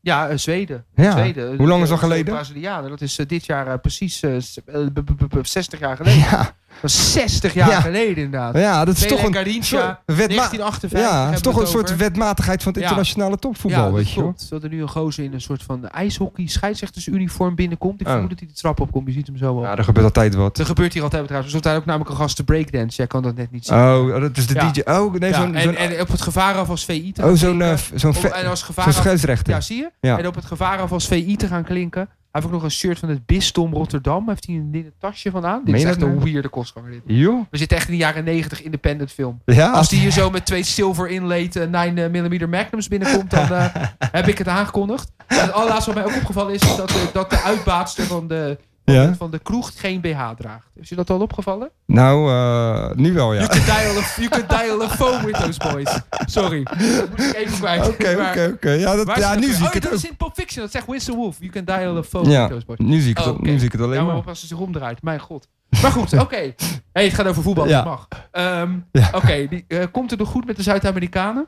Speaker 1: Ja, eh, Zweden.
Speaker 2: Hè? Ja.
Speaker 1: Zweden.
Speaker 2: Hoe lang is dat
Speaker 1: De
Speaker 2: geleden?
Speaker 1: Brazilianen. Dat is eh, dit jaar eh, precies eh, s- eh, b- b- b- 60 jaar geleden.
Speaker 2: Ja,
Speaker 1: Dat is 60 jaar
Speaker 2: Ja.
Speaker 1: geleden inderdaad.
Speaker 2: ja, dat is
Speaker 1: Pele
Speaker 2: toch een,
Speaker 1: Garrincha,
Speaker 2: soort wetma-
Speaker 1: 1958
Speaker 2: ja, het is
Speaker 1: hebben
Speaker 2: toch
Speaker 1: we
Speaker 2: een
Speaker 1: het
Speaker 2: soort
Speaker 1: over.
Speaker 2: wetmatigheid van het
Speaker 1: Ja.
Speaker 2: internationale topvoetbal.
Speaker 1: ja,
Speaker 2: weet
Speaker 1: dat
Speaker 2: je, hoor.
Speaker 1: klopt. Dat er nu een gozer in een soort van ijshockey scheidsrechtersuniform binnenkomt. Ik
Speaker 2: Oh.
Speaker 1: vermoed dat hij de trap opkomt. Je ziet hem zo wel.
Speaker 2: ja, er gebeurt altijd wat.
Speaker 1: er gebeurt hier altijd trouwens. Er stond daar ook namelijk een gast te breakdance. Jij kan dat net niet zien.
Speaker 2: Oh, dat is de
Speaker 1: Ja.
Speaker 2: DJ. Oh, nee,
Speaker 1: Ja,
Speaker 2: zo'n...
Speaker 1: en,
Speaker 2: zo'n-
Speaker 1: en op het gevaar af als VI te gaan
Speaker 2: oh, zo'n... eh,
Speaker 1: klinken.
Speaker 2: f- zo'n
Speaker 1: Om-
Speaker 2: ve-
Speaker 1: en als
Speaker 2: zo'n
Speaker 1: gevaar af,
Speaker 2: scheidsrechter.
Speaker 1: ja, zie je?
Speaker 2: Ja.
Speaker 1: En op het gevaar af als VI te gaan klinken. Hij heeft ook nog een shirt van het Bisdom Rotterdam. Heeft hij een linnen tasje van aan. Dit
Speaker 2: Meen
Speaker 1: is
Speaker 2: je
Speaker 1: echt
Speaker 2: dat
Speaker 1: een
Speaker 2: nou?
Speaker 1: weirde kostganger dit.
Speaker 2: Joh.
Speaker 1: We zitten echt in de jaren 90 independent film.
Speaker 2: Ja,
Speaker 1: Als die hier zo met twee silver inlaid eh, 9mm magnums binnenkomt, dan eh, heb ik het aangekondigd. En het allerlaatste wat mij ook opgevallen is, is dat, de- dat de uitbaatster van de,
Speaker 2: Ja.
Speaker 1: van de kroeg geen BH draagt. Is je dat al opgevallen?
Speaker 2: Nou, eh, nu wel, ja.
Speaker 1: You, could dial a, you could dial a phone with those boys. Sorry, dat moest ik even kwijt.
Speaker 2: Oké,
Speaker 1: Maar
Speaker 2: oké, oké. Ja, dat-
Speaker 1: waar
Speaker 2: ja,
Speaker 1: zit
Speaker 2: nu
Speaker 1: dat-
Speaker 2: zie
Speaker 1: oh,
Speaker 2: ik het
Speaker 1: dat
Speaker 2: ook.
Speaker 1: is in Pulp Fiction, dat zegt Winston Wolf. You can dial a phone
Speaker 2: Ja.
Speaker 1: with those boys.
Speaker 2: Nu zie ik het,
Speaker 1: Oh, oké.
Speaker 2: nu zie ik het
Speaker 1: Ja,
Speaker 2: alleen
Speaker 1: maar
Speaker 2: maar.
Speaker 1: op als het zich omdraait. Mijn god. Maar goed, oké. Hey, het gaat over voetbal,
Speaker 2: Ja.
Speaker 1: dat mag. Ehm,
Speaker 2: Ja.
Speaker 1: Oké, die, eh, komt het nog goed met de Zuid-Amerikanen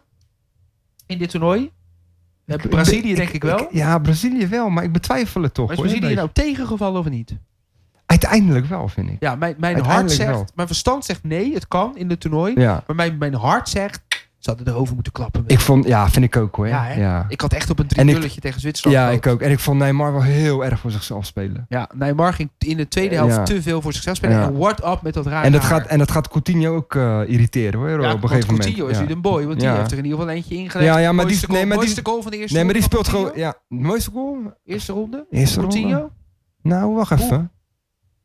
Speaker 1: in dit toernooi? Eh,
Speaker 2: Ik-
Speaker 1: Brazilië denk ik wel.
Speaker 2: ja, Brazilië wel, maar ik betwijfel het toch.
Speaker 1: maar is
Speaker 2: hoor, een
Speaker 1: Brazilië
Speaker 2: beetje.
Speaker 1: nou tegengevallen of niet?
Speaker 2: Uiteindelijk wel, vind ik.
Speaker 1: Ja, mijn, mijn hart
Speaker 2: Uiteindelijk
Speaker 1: zegt,
Speaker 2: wel.
Speaker 1: mijn verstand zegt nee, het kan in het toernooi.
Speaker 2: Ja.
Speaker 1: Maar mijn, mijn hart zegt, ze hadden erover moeten klappen.
Speaker 2: Ik vond, ja, vind ik ook hoor.
Speaker 1: Ja, hè?
Speaker 2: ja.
Speaker 1: Ik had echt op een
Speaker 2: En ik-
Speaker 1: driedulletje tegen Zwitserland
Speaker 2: ja,
Speaker 1: gehoopt.
Speaker 2: ik ook. En ik vond Neymar wel heel erg voor zichzelf spelen.
Speaker 1: Ja, Neymar ging in de tweede helft
Speaker 2: Eh, Ja.
Speaker 1: te veel voor zichzelf spelen.
Speaker 2: Ja.
Speaker 1: En what up met dat rare
Speaker 2: En dat,
Speaker 1: haar.
Speaker 2: gaat, en dat gaat Coutinho ook eh, irriteren hoor,
Speaker 1: Ja,
Speaker 2: op een gegeven
Speaker 1: want
Speaker 2: moment.
Speaker 1: Coutinho is
Speaker 2: Ja.
Speaker 1: nu de boy, want die
Speaker 2: Ja.
Speaker 1: heeft er in ieder geval eentje ingelegd.
Speaker 2: Ja, ja, maar die-
Speaker 1: mooiste goal,
Speaker 2: nee, maar die-
Speaker 1: mooiste goal van de eerste
Speaker 2: Nee, maar die
Speaker 1: ronde van
Speaker 2: speelt gewoon...
Speaker 1: Coutinho.
Speaker 2: Ja, de mooiste goal?
Speaker 1: Eerste ronde?
Speaker 2: Eerste ronde?
Speaker 1: Coutinho?
Speaker 2: Nou, wacht even.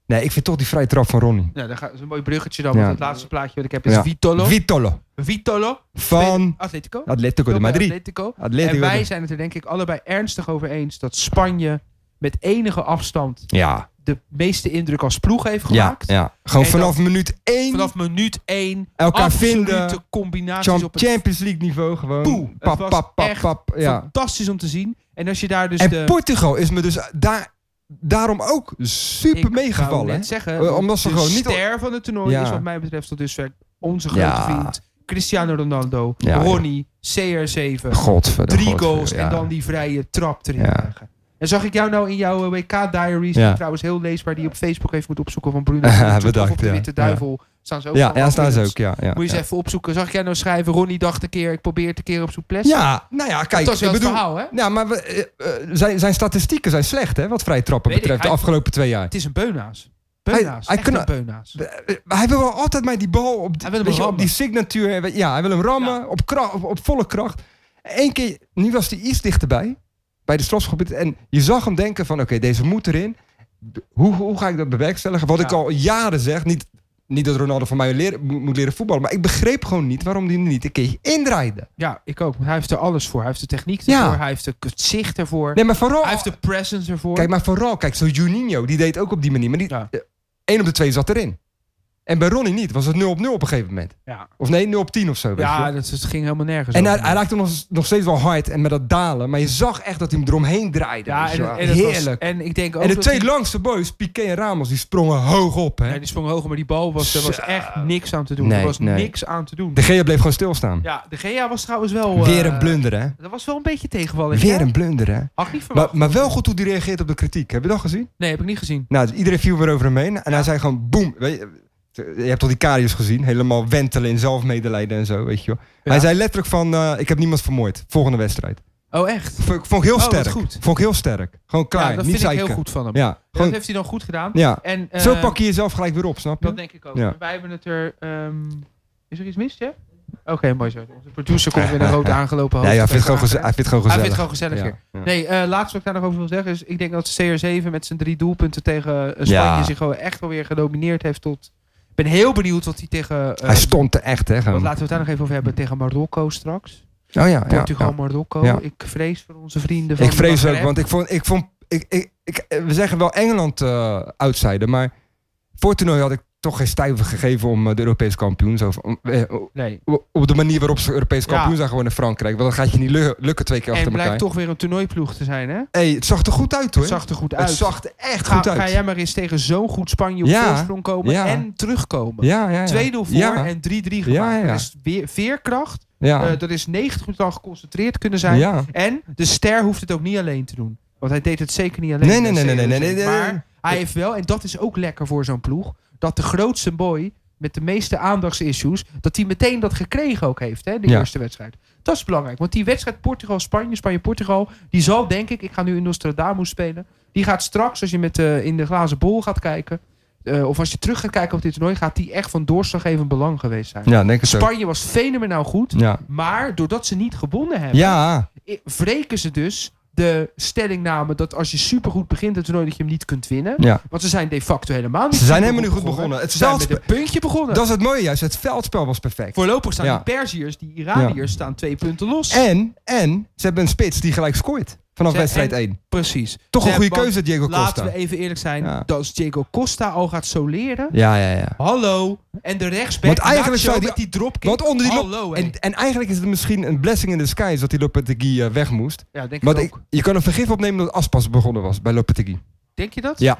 Speaker 2: Nee, ik vind toch die vrije trap van Ronnie.
Speaker 1: Ja, daar gaat dat is een mooi bruggetje dan.
Speaker 2: Ja.
Speaker 1: Want het laatste plaatje wat ik heb is
Speaker 2: Ja.
Speaker 1: Vitolo.
Speaker 2: Vitolo.
Speaker 1: Vitolo.
Speaker 2: Van
Speaker 1: Atletico.
Speaker 2: Atletico de
Speaker 1: Speelt bij
Speaker 2: Madrid.
Speaker 1: Atletico.
Speaker 2: Atletico
Speaker 1: en
Speaker 2: de-
Speaker 1: wij zijn het er denk ik allebei ernstig over eens dat Spanje met enige afstand
Speaker 2: Ja,
Speaker 1: de meeste indruk als ploeg heeft
Speaker 2: ja,
Speaker 1: gemaakt.
Speaker 2: ja. Gewoon
Speaker 1: En
Speaker 2: vanaf minuut 1
Speaker 1: Vanaf minuut 1
Speaker 2: elkaar
Speaker 1: absolute
Speaker 2: vinden.
Speaker 1: combinaties
Speaker 2: Champ-
Speaker 1: op het
Speaker 2: Champions League niveau gewoon.
Speaker 1: Poeh, het
Speaker 2: pap,
Speaker 1: was
Speaker 2: pap, pap,
Speaker 1: echt
Speaker 2: pap. Ja.
Speaker 1: Fantastisch om te zien. En als je daar dus
Speaker 2: en
Speaker 1: de...
Speaker 2: Portugal is me dus daar, daarom ook super
Speaker 1: Ik wou
Speaker 2: meegevallen.
Speaker 1: net
Speaker 2: hè?
Speaker 1: zeggen,
Speaker 2: Eh, omdat ze
Speaker 1: de
Speaker 2: gewoon niet-
Speaker 1: ster van het toernooi
Speaker 2: Ja.
Speaker 1: is wat mij betreft tot dusver onze grote
Speaker 2: Ja.
Speaker 1: vriend. Cristiano Ronaldo,
Speaker 2: Ja, ja.
Speaker 1: Ronnie, CR7.
Speaker 2: Godverdomme.
Speaker 1: Drie
Speaker 2: godverdomme,
Speaker 1: goals
Speaker 2: ja.
Speaker 1: en dan die vrije trap erin
Speaker 2: Ja.
Speaker 1: krijgen. En zag ik jou nou in jouw WK-diaries,
Speaker 2: Ja.
Speaker 1: die trouwens heel leesbaar, die je op Facebook even moet opzoeken van Bruno.
Speaker 2: Haha,
Speaker 1: Toethoff
Speaker 2: bedankt,
Speaker 1: Of de
Speaker 2: ja.
Speaker 1: Witte Duivel. Staan ze ook
Speaker 2: Ja,
Speaker 1: allemaal
Speaker 2: ja, staan ze
Speaker 1: in.
Speaker 2: ook. Ja, ja,
Speaker 1: Moet je
Speaker 2: ja.
Speaker 1: eens even opzoeken. Zag ik jij nou schrijven, Ronnie dacht een keer, ik probeer het een keer op souplesse.
Speaker 2: Ja, nou ja, kijk.
Speaker 1: dat is wel
Speaker 2: ik
Speaker 1: het
Speaker 2: bedoel,
Speaker 1: verhaal, hè?
Speaker 2: ja, maar we, eh, eh, zijn, zijn statistieken zijn slecht, hè? Wat vrije trappen
Speaker 1: Weet ik,
Speaker 2: betreft, de
Speaker 1: hij-
Speaker 2: afgelopen twee jaar.
Speaker 1: Het is een beunaas.
Speaker 2: Hij-
Speaker 1: Beunaas,
Speaker 2: hij
Speaker 1: echt
Speaker 2: kan-
Speaker 1: een beunaas.
Speaker 2: De- eh, Hij wil wel altijd maar die bal op, die-
Speaker 1: Hij wil hem
Speaker 2: weet je, op
Speaker 1: rammen.
Speaker 2: die signatuur. eh, Ja, hij wil hem rammen op, kra- op, op volle kracht. Eén keer, nu was hij iets dichterbij, bij de strafschopgebied. En je zag hem denken van, oké, deze moet erin. D- Hoe, hoe ga ik dat bewerkstelligen? Wat
Speaker 1: Ja.
Speaker 2: ik al jaren zeg, niet, niet dat Ronaldo van mij leren, mo- moet leren voetballen. Maar ik begreep gewoon niet waarom hij niet een keertje indraaide.
Speaker 1: Ja, ik ook. Want hij heeft er alles voor. Hij heeft de techniek
Speaker 2: Ja.
Speaker 1: ervoor. Hij heeft de zicht ervoor.
Speaker 2: Nee, maar vooral...
Speaker 1: Hij heeft de presence ervoor.
Speaker 2: Kijk, maar vooral, kijk, zo Juninho, die deed ook op die manier. Maar die,
Speaker 1: Ja.
Speaker 2: eh, één op de twee zat erin. En bij Ronnie niet, was het 0 op 0 op een gegeven moment.
Speaker 1: Ja.
Speaker 2: Of nee, 0 op 10 of zo. weet je wel.
Speaker 1: ja, dat, dat ging helemaal nergens
Speaker 2: En hij,
Speaker 1: over.
Speaker 2: hij raakte nog, nog steeds wel hard en met dat dalen. Maar je zag echt dat hij hem eromheen draaide.
Speaker 1: ja,
Speaker 2: weet je
Speaker 1: en,
Speaker 2: wel.
Speaker 1: en dat was-
Speaker 2: Heerlijk.
Speaker 1: en ik denk ook
Speaker 2: en de
Speaker 1: dat
Speaker 2: twee
Speaker 1: die-
Speaker 2: langste boys, Piqué en Ramos, die sprongen hoog op. Hè?
Speaker 1: Nee, die sprong hoger, maar die bal was, er was
Speaker 2: Zo.
Speaker 1: echt niks aan te doen.
Speaker 2: Nee,
Speaker 1: er was
Speaker 2: nee.
Speaker 1: niks aan te doen.
Speaker 2: De Gea bleef gewoon stilstaan.
Speaker 1: Ja, de Gea was trouwens wel... eh,
Speaker 2: Weer een blunder, hè?
Speaker 1: Dat was wel een beetje tegenvallen.
Speaker 2: Weer een blunder, hè?
Speaker 1: Had ik niet
Speaker 2: Maar,
Speaker 1: verwacht.
Speaker 2: maar wel goed hoe hij reageert op de kritiek. Heb je dat gezien?
Speaker 1: Nee, heb ik niet gezien.
Speaker 2: Nou, dus iedereen viel weer over hem heen. En hij zei gewoon, boem. Weet je, je hebt al die karius gezien. Helemaal wentelen in zelfmedelijden en zo, weet je wel.
Speaker 1: Ja.
Speaker 2: Hij zei letterlijk van, eh, ik heb niemand vermoord. Volgende wedstrijd.
Speaker 1: Oh, echt?
Speaker 2: Vond ik, vond ik heel
Speaker 1: Oh, wat
Speaker 2: sterk.
Speaker 1: goed.
Speaker 2: Vond ik heel sterk. Gewoon klaar,
Speaker 1: ja, dat
Speaker 2: niet
Speaker 1: vind
Speaker 2: zeiken.
Speaker 1: ik heel goed van hem.
Speaker 2: Ja, gewoon,
Speaker 1: Dat heeft hij dan goed gedaan.
Speaker 2: ja.
Speaker 1: En, eh,
Speaker 2: Zo pak je jezelf gelijk weer op, snap je?
Speaker 1: Dat denk ik ook.
Speaker 2: Ja.
Speaker 1: Wij hebben het er... ehm, is er iets mis, ja? Oké, mooi zo. Onze producer komt weer een rood aangelopen hoofd.
Speaker 2: Nee, hij
Speaker 1: Even
Speaker 2: vindt gewoon geze- hij
Speaker 1: aangeven.
Speaker 2: vindt het gewoon
Speaker 1: Hij
Speaker 2: gezellig.
Speaker 1: vindt het gewoon gezellig weer.
Speaker 2: Ja.
Speaker 1: Nee, eh, laatste wat ik daar nog over wil zeggen is... Ik denk dat CR7 met zijn drie doelpunten tegen eh, Spanje...
Speaker 2: Ja.
Speaker 1: zich gewoon echt wel weer gedomineerd heeft tot... Ik ben heel benieuwd wat hij tegen... eh
Speaker 2: Hij stond er echt, hè?
Speaker 1: want
Speaker 2: Gewoon.
Speaker 1: laten we het daar nog even over hebben. Tegen Marokko straks.
Speaker 2: Oh ja, ja,
Speaker 1: Portugal,
Speaker 2: ja.
Speaker 1: Marokko.
Speaker 2: Ja.
Speaker 1: Ik vrees voor onze vrienden van
Speaker 2: Ik vrees ook,
Speaker 1: Maghreb.
Speaker 2: want ik vond... Ik vond ik, ik, ik- we zeggen wel Engeland eh outsider, maar voor het toernooi had ik toch geen stijve gegeven om eh, de Europese kampioen. Zo, van- eh,
Speaker 1: Nee.
Speaker 2: op de manier waarop ze Europees
Speaker 1: Ja.
Speaker 2: kampioen zijn geworden in Frankrijk. Want dan gaat je niet lu- lukken twee keer
Speaker 1: En
Speaker 2: achter elkaar.
Speaker 1: blijkt toch weer een toernooiploeg te zijn, hè?
Speaker 2: hey, het zag er goed uit hoor.
Speaker 1: Het zag er goed uit.
Speaker 2: Het zag er echt
Speaker 1: ga,
Speaker 2: goed uit.
Speaker 1: ga jij maar eens tegen zo'n goed Spanje op
Speaker 2: Ja.
Speaker 1: voorsprong komen
Speaker 2: Ja.
Speaker 1: en terugkomen.
Speaker 2: Ja, ja, ja.
Speaker 1: 2-0 voor
Speaker 2: Ja.
Speaker 1: en 3-3 gemaakt.
Speaker 2: Ja, ja.
Speaker 1: Dat is weer veerkracht.
Speaker 2: Ja.
Speaker 1: Eh, dat is 90 minuten lang geconcentreerd kunnen zijn.
Speaker 2: Ja.
Speaker 1: En de ster hoeft het ook niet alleen te doen. Want hij deed het zeker niet alleen. dus
Speaker 2: Nee, nee, nee, nee, nee, nee, nee, nee.
Speaker 1: Maar hij heeft wel, en dat is ook lekker voor zo'n ploeg, dat de grootste boy met de meeste aandachtsissues, dat hij meteen dat gekregen ook heeft, hè, de
Speaker 2: Ja.
Speaker 1: eerste wedstrijd. Dat is belangrijk, want die wedstrijd Portugal-Spanje, Spanje-Portugal, die zal denk ik, ik ga nu in Nostradamus spelen, die gaat straks, als je met, eh, in de glazen bol gaat kijken, eh, of als je terug gaat kijken op dit toernooi, gaat die echt van doorslaggevend belang geweest zijn.
Speaker 2: ja, denk het ook.
Speaker 1: Spanje was fenomenaal goed,
Speaker 2: Ja.
Speaker 1: maar doordat ze niet gewonnen hebben,
Speaker 2: Ja.
Speaker 1: i- wreken ze dus de stellingname dat als je supergoed begint het toernooi dat je hem niet kunt winnen.
Speaker 2: ja.
Speaker 1: Want ze zijn de facto helemaal niet
Speaker 2: Ze zijn
Speaker 1: supergoed
Speaker 2: helemaal niet goed begonnen. Het
Speaker 1: Ze zijn met
Speaker 2: veldspel-
Speaker 1: een puntje begonnen.
Speaker 2: Dat is het mooie juist. Het veldspel was perfect.
Speaker 1: Voorlopig staan
Speaker 2: Ja.
Speaker 1: die Perziërs, die Iraniërs, staan twee punten los.
Speaker 2: En, en ze hebben een spits die gelijk scoort. Vanaf
Speaker 1: Ze-
Speaker 2: wedstrijd
Speaker 1: en-
Speaker 2: 1.
Speaker 1: Precies.
Speaker 2: Toch
Speaker 1: Ze
Speaker 2: een goede
Speaker 1: hebben-
Speaker 2: keuze, Diego
Speaker 1: Laten we
Speaker 2: Costa.
Speaker 1: even eerlijk zijn.
Speaker 2: Ja.
Speaker 1: Dat als Diego Costa al gaat soleren.
Speaker 2: Ja, ja, ja.
Speaker 1: Hallo. En de rechtsback.
Speaker 2: Want eigenlijk
Speaker 1: Nacho
Speaker 2: zou die-
Speaker 1: met die dropkick.
Speaker 2: Want onder die lop-
Speaker 1: Hallo,
Speaker 2: En,
Speaker 1: hé.
Speaker 2: en eigenlijk is het misschien een blessing in disguise dat die Lopetegui eh, weg moest.
Speaker 1: ja, denk
Speaker 2: Want
Speaker 1: ik
Speaker 2: ik,
Speaker 1: ook.
Speaker 2: je kan er vergif opnemen dat Aspas begonnen was bij Lopetegui.
Speaker 1: Denk je dat?
Speaker 2: Ja,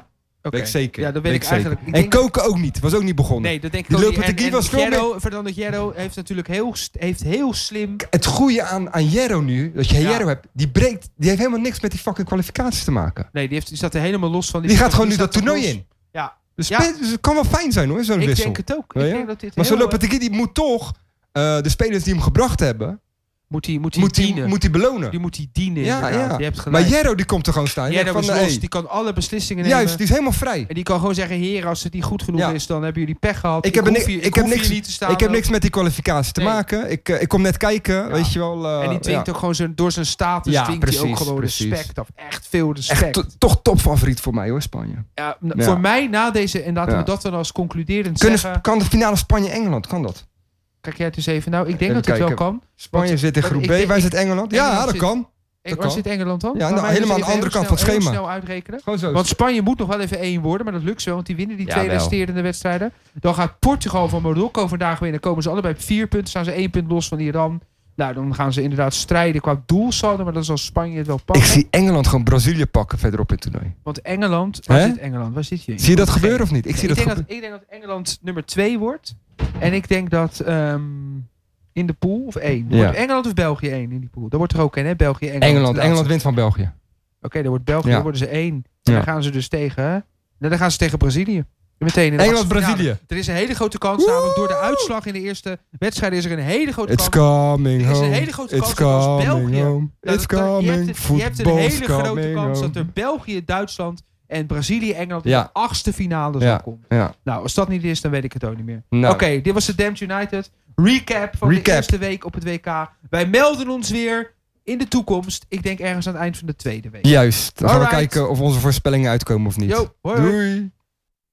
Speaker 1: Oké.
Speaker 2: Weet ik zeker.
Speaker 1: Ja, dat weet ik
Speaker 2: zeker.
Speaker 1: eigenlijk. Ik
Speaker 2: En
Speaker 1: denk-
Speaker 2: koken ook niet. Was ook niet begonnen.
Speaker 1: Nee, dat denk ik
Speaker 2: Die
Speaker 1: ook niet. En,
Speaker 2: Lopetegui
Speaker 1: en
Speaker 2: was veel
Speaker 1: Hierro- Fernando Hierro heeft natuurlijk heel, st- heeft heel slim...
Speaker 2: Het goede aan, aan Jero nu, dat je
Speaker 1: Ja.
Speaker 2: Jero hebt, die breekt, die heeft helemaal niks met die fucking kwalificaties te maken.
Speaker 1: Nee, die, heeft, die staat er helemaal los van.
Speaker 2: Die, gaat gewoon nu
Speaker 1: staat
Speaker 2: dat
Speaker 1: er
Speaker 2: toernooi
Speaker 1: los.
Speaker 2: in.
Speaker 1: Ja.
Speaker 2: Dus
Speaker 1: Ja.
Speaker 2: spits- dus het kan wel fijn zijn hoor, zo'n
Speaker 1: Ik
Speaker 2: wissel.
Speaker 1: denk het ook.
Speaker 2: Ja,
Speaker 1: Ik
Speaker 2: ja.
Speaker 1: denk dat dit
Speaker 2: maar zo'n
Speaker 1: heel, eh,
Speaker 2: Lopetegui die moet toch eh, de spelers die hem gebracht hebben,
Speaker 1: moet hij moet hij
Speaker 2: moet die,
Speaker 1: dienen.
Speaker 2: moet die belonen.
Speaker 1: die moet hij dienen,
Speaker 2: Ja,
Speaker 1: inderdaad.
Speaker 2: ja.
Speaker 1: Je hebt gelijk.
Speaker 2: maar Jero die komt er gewoon staan.
Speaker 1: Jero
Speaker 2: Van,
Speaker 1: is
Speaker 2: eh,
Speaker 1: los. Die kan alle beslissingen nemen.
Speaker 2: juist, die is helemaal vrij.
Speaker 1: En die kan gewoon zeggen, heer, als het niet goed genoeg
Speaker 2: Ja.
Speaker 1: is, dan hebben jullie pech gehad.
Speaker 2: Ik heb
Speaker 1: hoef
Speaker 2: niks-
Speaker 1: hier-
Speaker 2: ik heb
Speaker 1: hoef hier
Speaker 2: niks-
Speaker 1: niet te staan.
Speaker 2: Ik heb
Speaker 1: ook.
Speaker 2: niks met die kwalificaties te
Speaker 1: Nee.
Speaker 2: maken. Ik, eh, ik kom net kijken, weet je wel. eh,
Speaker 1: En die dwingt
Speaker 2: ja.
Speaker 1: ook gewoon zijn, door zijn status
Speaker 2: Ja,
Speaker 1: dwingt hij ook
Speaker 2: precies,
Speaker 1: gewoon
Speaker 2: precies.
Speaker 1: respect af. Echt veel respect.
Speaker 2: Echt to- toch topfavoriet voor mij hoor, Spanje.
Speaker 1: ja, n-
Speaker 2: Ja.
Speaker 1: Voor mij na deze, en laten we
Speaker 2: Ja.
Speaker 1: dat dan als concluderend
Speaker 2: Kunnen,
Speaker 1: zeggen.
Speaker 2: kan de finale Spanje-Engeland, kan dat?
Speaker 1: Kijk jij het eens even. Nou, ik denk
Speaker 2: Even
Speaker 1: dat het wel
Speaker 2: kijken.
Speaker 1: kan.
Speaker 2: Spanje
Speaker 1: Want-
Speaker 2: zit in
Speaker 1: want
Speaker 2: groep
Speaker 1: ik
Speaker 2: B,
Speaker 1: denk-
Speaker 2: wij zitten Engeland. Ja, nou,
Speaker 1: Engeland
Speaker 2: dat
Speaker 1: zit-
Speaker 2: kan.
Speaker 1: Ik, waar
Speaker 2: kan.
Speaker 1: zit Engeland dan?
Speaker 2: Ja,
Speaker 1: Laat
Speaker 2: nou,
Speaker 1: mij dus
Speaker 2: helemaal aan de
Speaker 1: even
Speaker 2: andere
Speaker 1: heel
Speaker 2: kant van het
Speaker 1: snel- heel
Speaker 2: schema.
Speaker 1: snel uitrekenen.
Speaker 2: Gewoon zo.
Speaker 1: Want Spanje moet nog wel even één worden, maar dat lukt zo, want die winnen die twee
Speaker 2: Jawel.
Speaker 1: resterende wedstrijden. Dan gaat Portugal van Marokko vandaag winnen. Komen ze allebei op vier punten, staan ze één punt los van Iran. Nou, dan gaan ze inderdaad strijden qua doelsaldo, maar dan zal Spanje het wel
Speaker 2: ik
Speaker 1: pakken.
Speaker 2: zie Engeland gewoon Brazilië pakken verderop in het toernooi.
Speaker 1: Want Engeland, waar
Speaker 2: Hè?
Speaker 1: zit Engeland? Waar zit je?
Speaker 2: Zie je dat gebeuren of niet? Ik
Speaker 1: Ik,
Speaker 2: zie dat
Speaker 1: denk
Speaker 2: gebeuren.
Speaker 1: dat, ik denk dat Engeland nummer twee wordt. En ik denk dat ehm, in de pool, of één.
Speaker 2: Ja.
Speaker 1: Wordt Engeland of België één in die pool? Dat wordt er ook één, hè? België, Engeland.
Speaker 2: Engeland,
Speaker 1: Laatste.
Speaker 2: Engeland wint van België.
Speaker 1: Oké, dan wordt België,
Speaker 2: Ja.
Speaker 1: dan worden ze één. En
Speaker 2: Ja.
Speaker 1: dan gaan ze dus tegen... hè? Nou, dan gaan ze tegen Brazilië. Meteen in de
Speaker 2: Engeland,
Speaker 1: achtste finale.
Speaker 2: Brazilië.
Speaker 1: Er is een hele grote kans, namelijk door de uitslag in de eerste wedstrijd is er een hele grote
Speaker 2: It's
Speaker 1: kans.
Speaker 2: coming
Speaker 1: Er is
Speaker 2: home.
Speaker 1: een hele grote
Speaker 2: It's
Speaker 1: kans dat als
Speaker 2: coming
Speaker 1: België-
Speaker 2: home.
Speaker 1: Nou,
Speaker 2: It's
Speaker 1: dat- dat- je hebt
Speaker 2: coming.
Speaker 1: het- Je hebt een
Speaker 2: Voetbal's
Speaker 1: hele grote
Speaker 2: coming
Speaker 1: kans dat
Speaker 2: home.
Speaker 1: er België, Duitsland en Brazilië, Engeland in
Speaker 2: Ja.
Speaker 1: de achtste finale zal
Speaker 2: Ja.
Speaker 1: komen.
Speaker 2: Ja.
Speaker 1: Nou, als dat niet is, dan weet ik het ook niet meer.
Speaker 2: Nou.
Speaker 1: Oké, dit was de Damned United. Recap van de
Speaker 2: Recap.
Speaker 1: eerste week op het WK. Wij melden ons weer in de toekomst. Ik denk ergens aan het eind van de tweede week.
Speaker 2: Juist. Dan gaan we
Speaker 1: Alright.
Speaker 2: kijken of onze voorspellingen uitkomen of niet.
Speaker 1: Yo, hoi.
Speaker 2: Doei.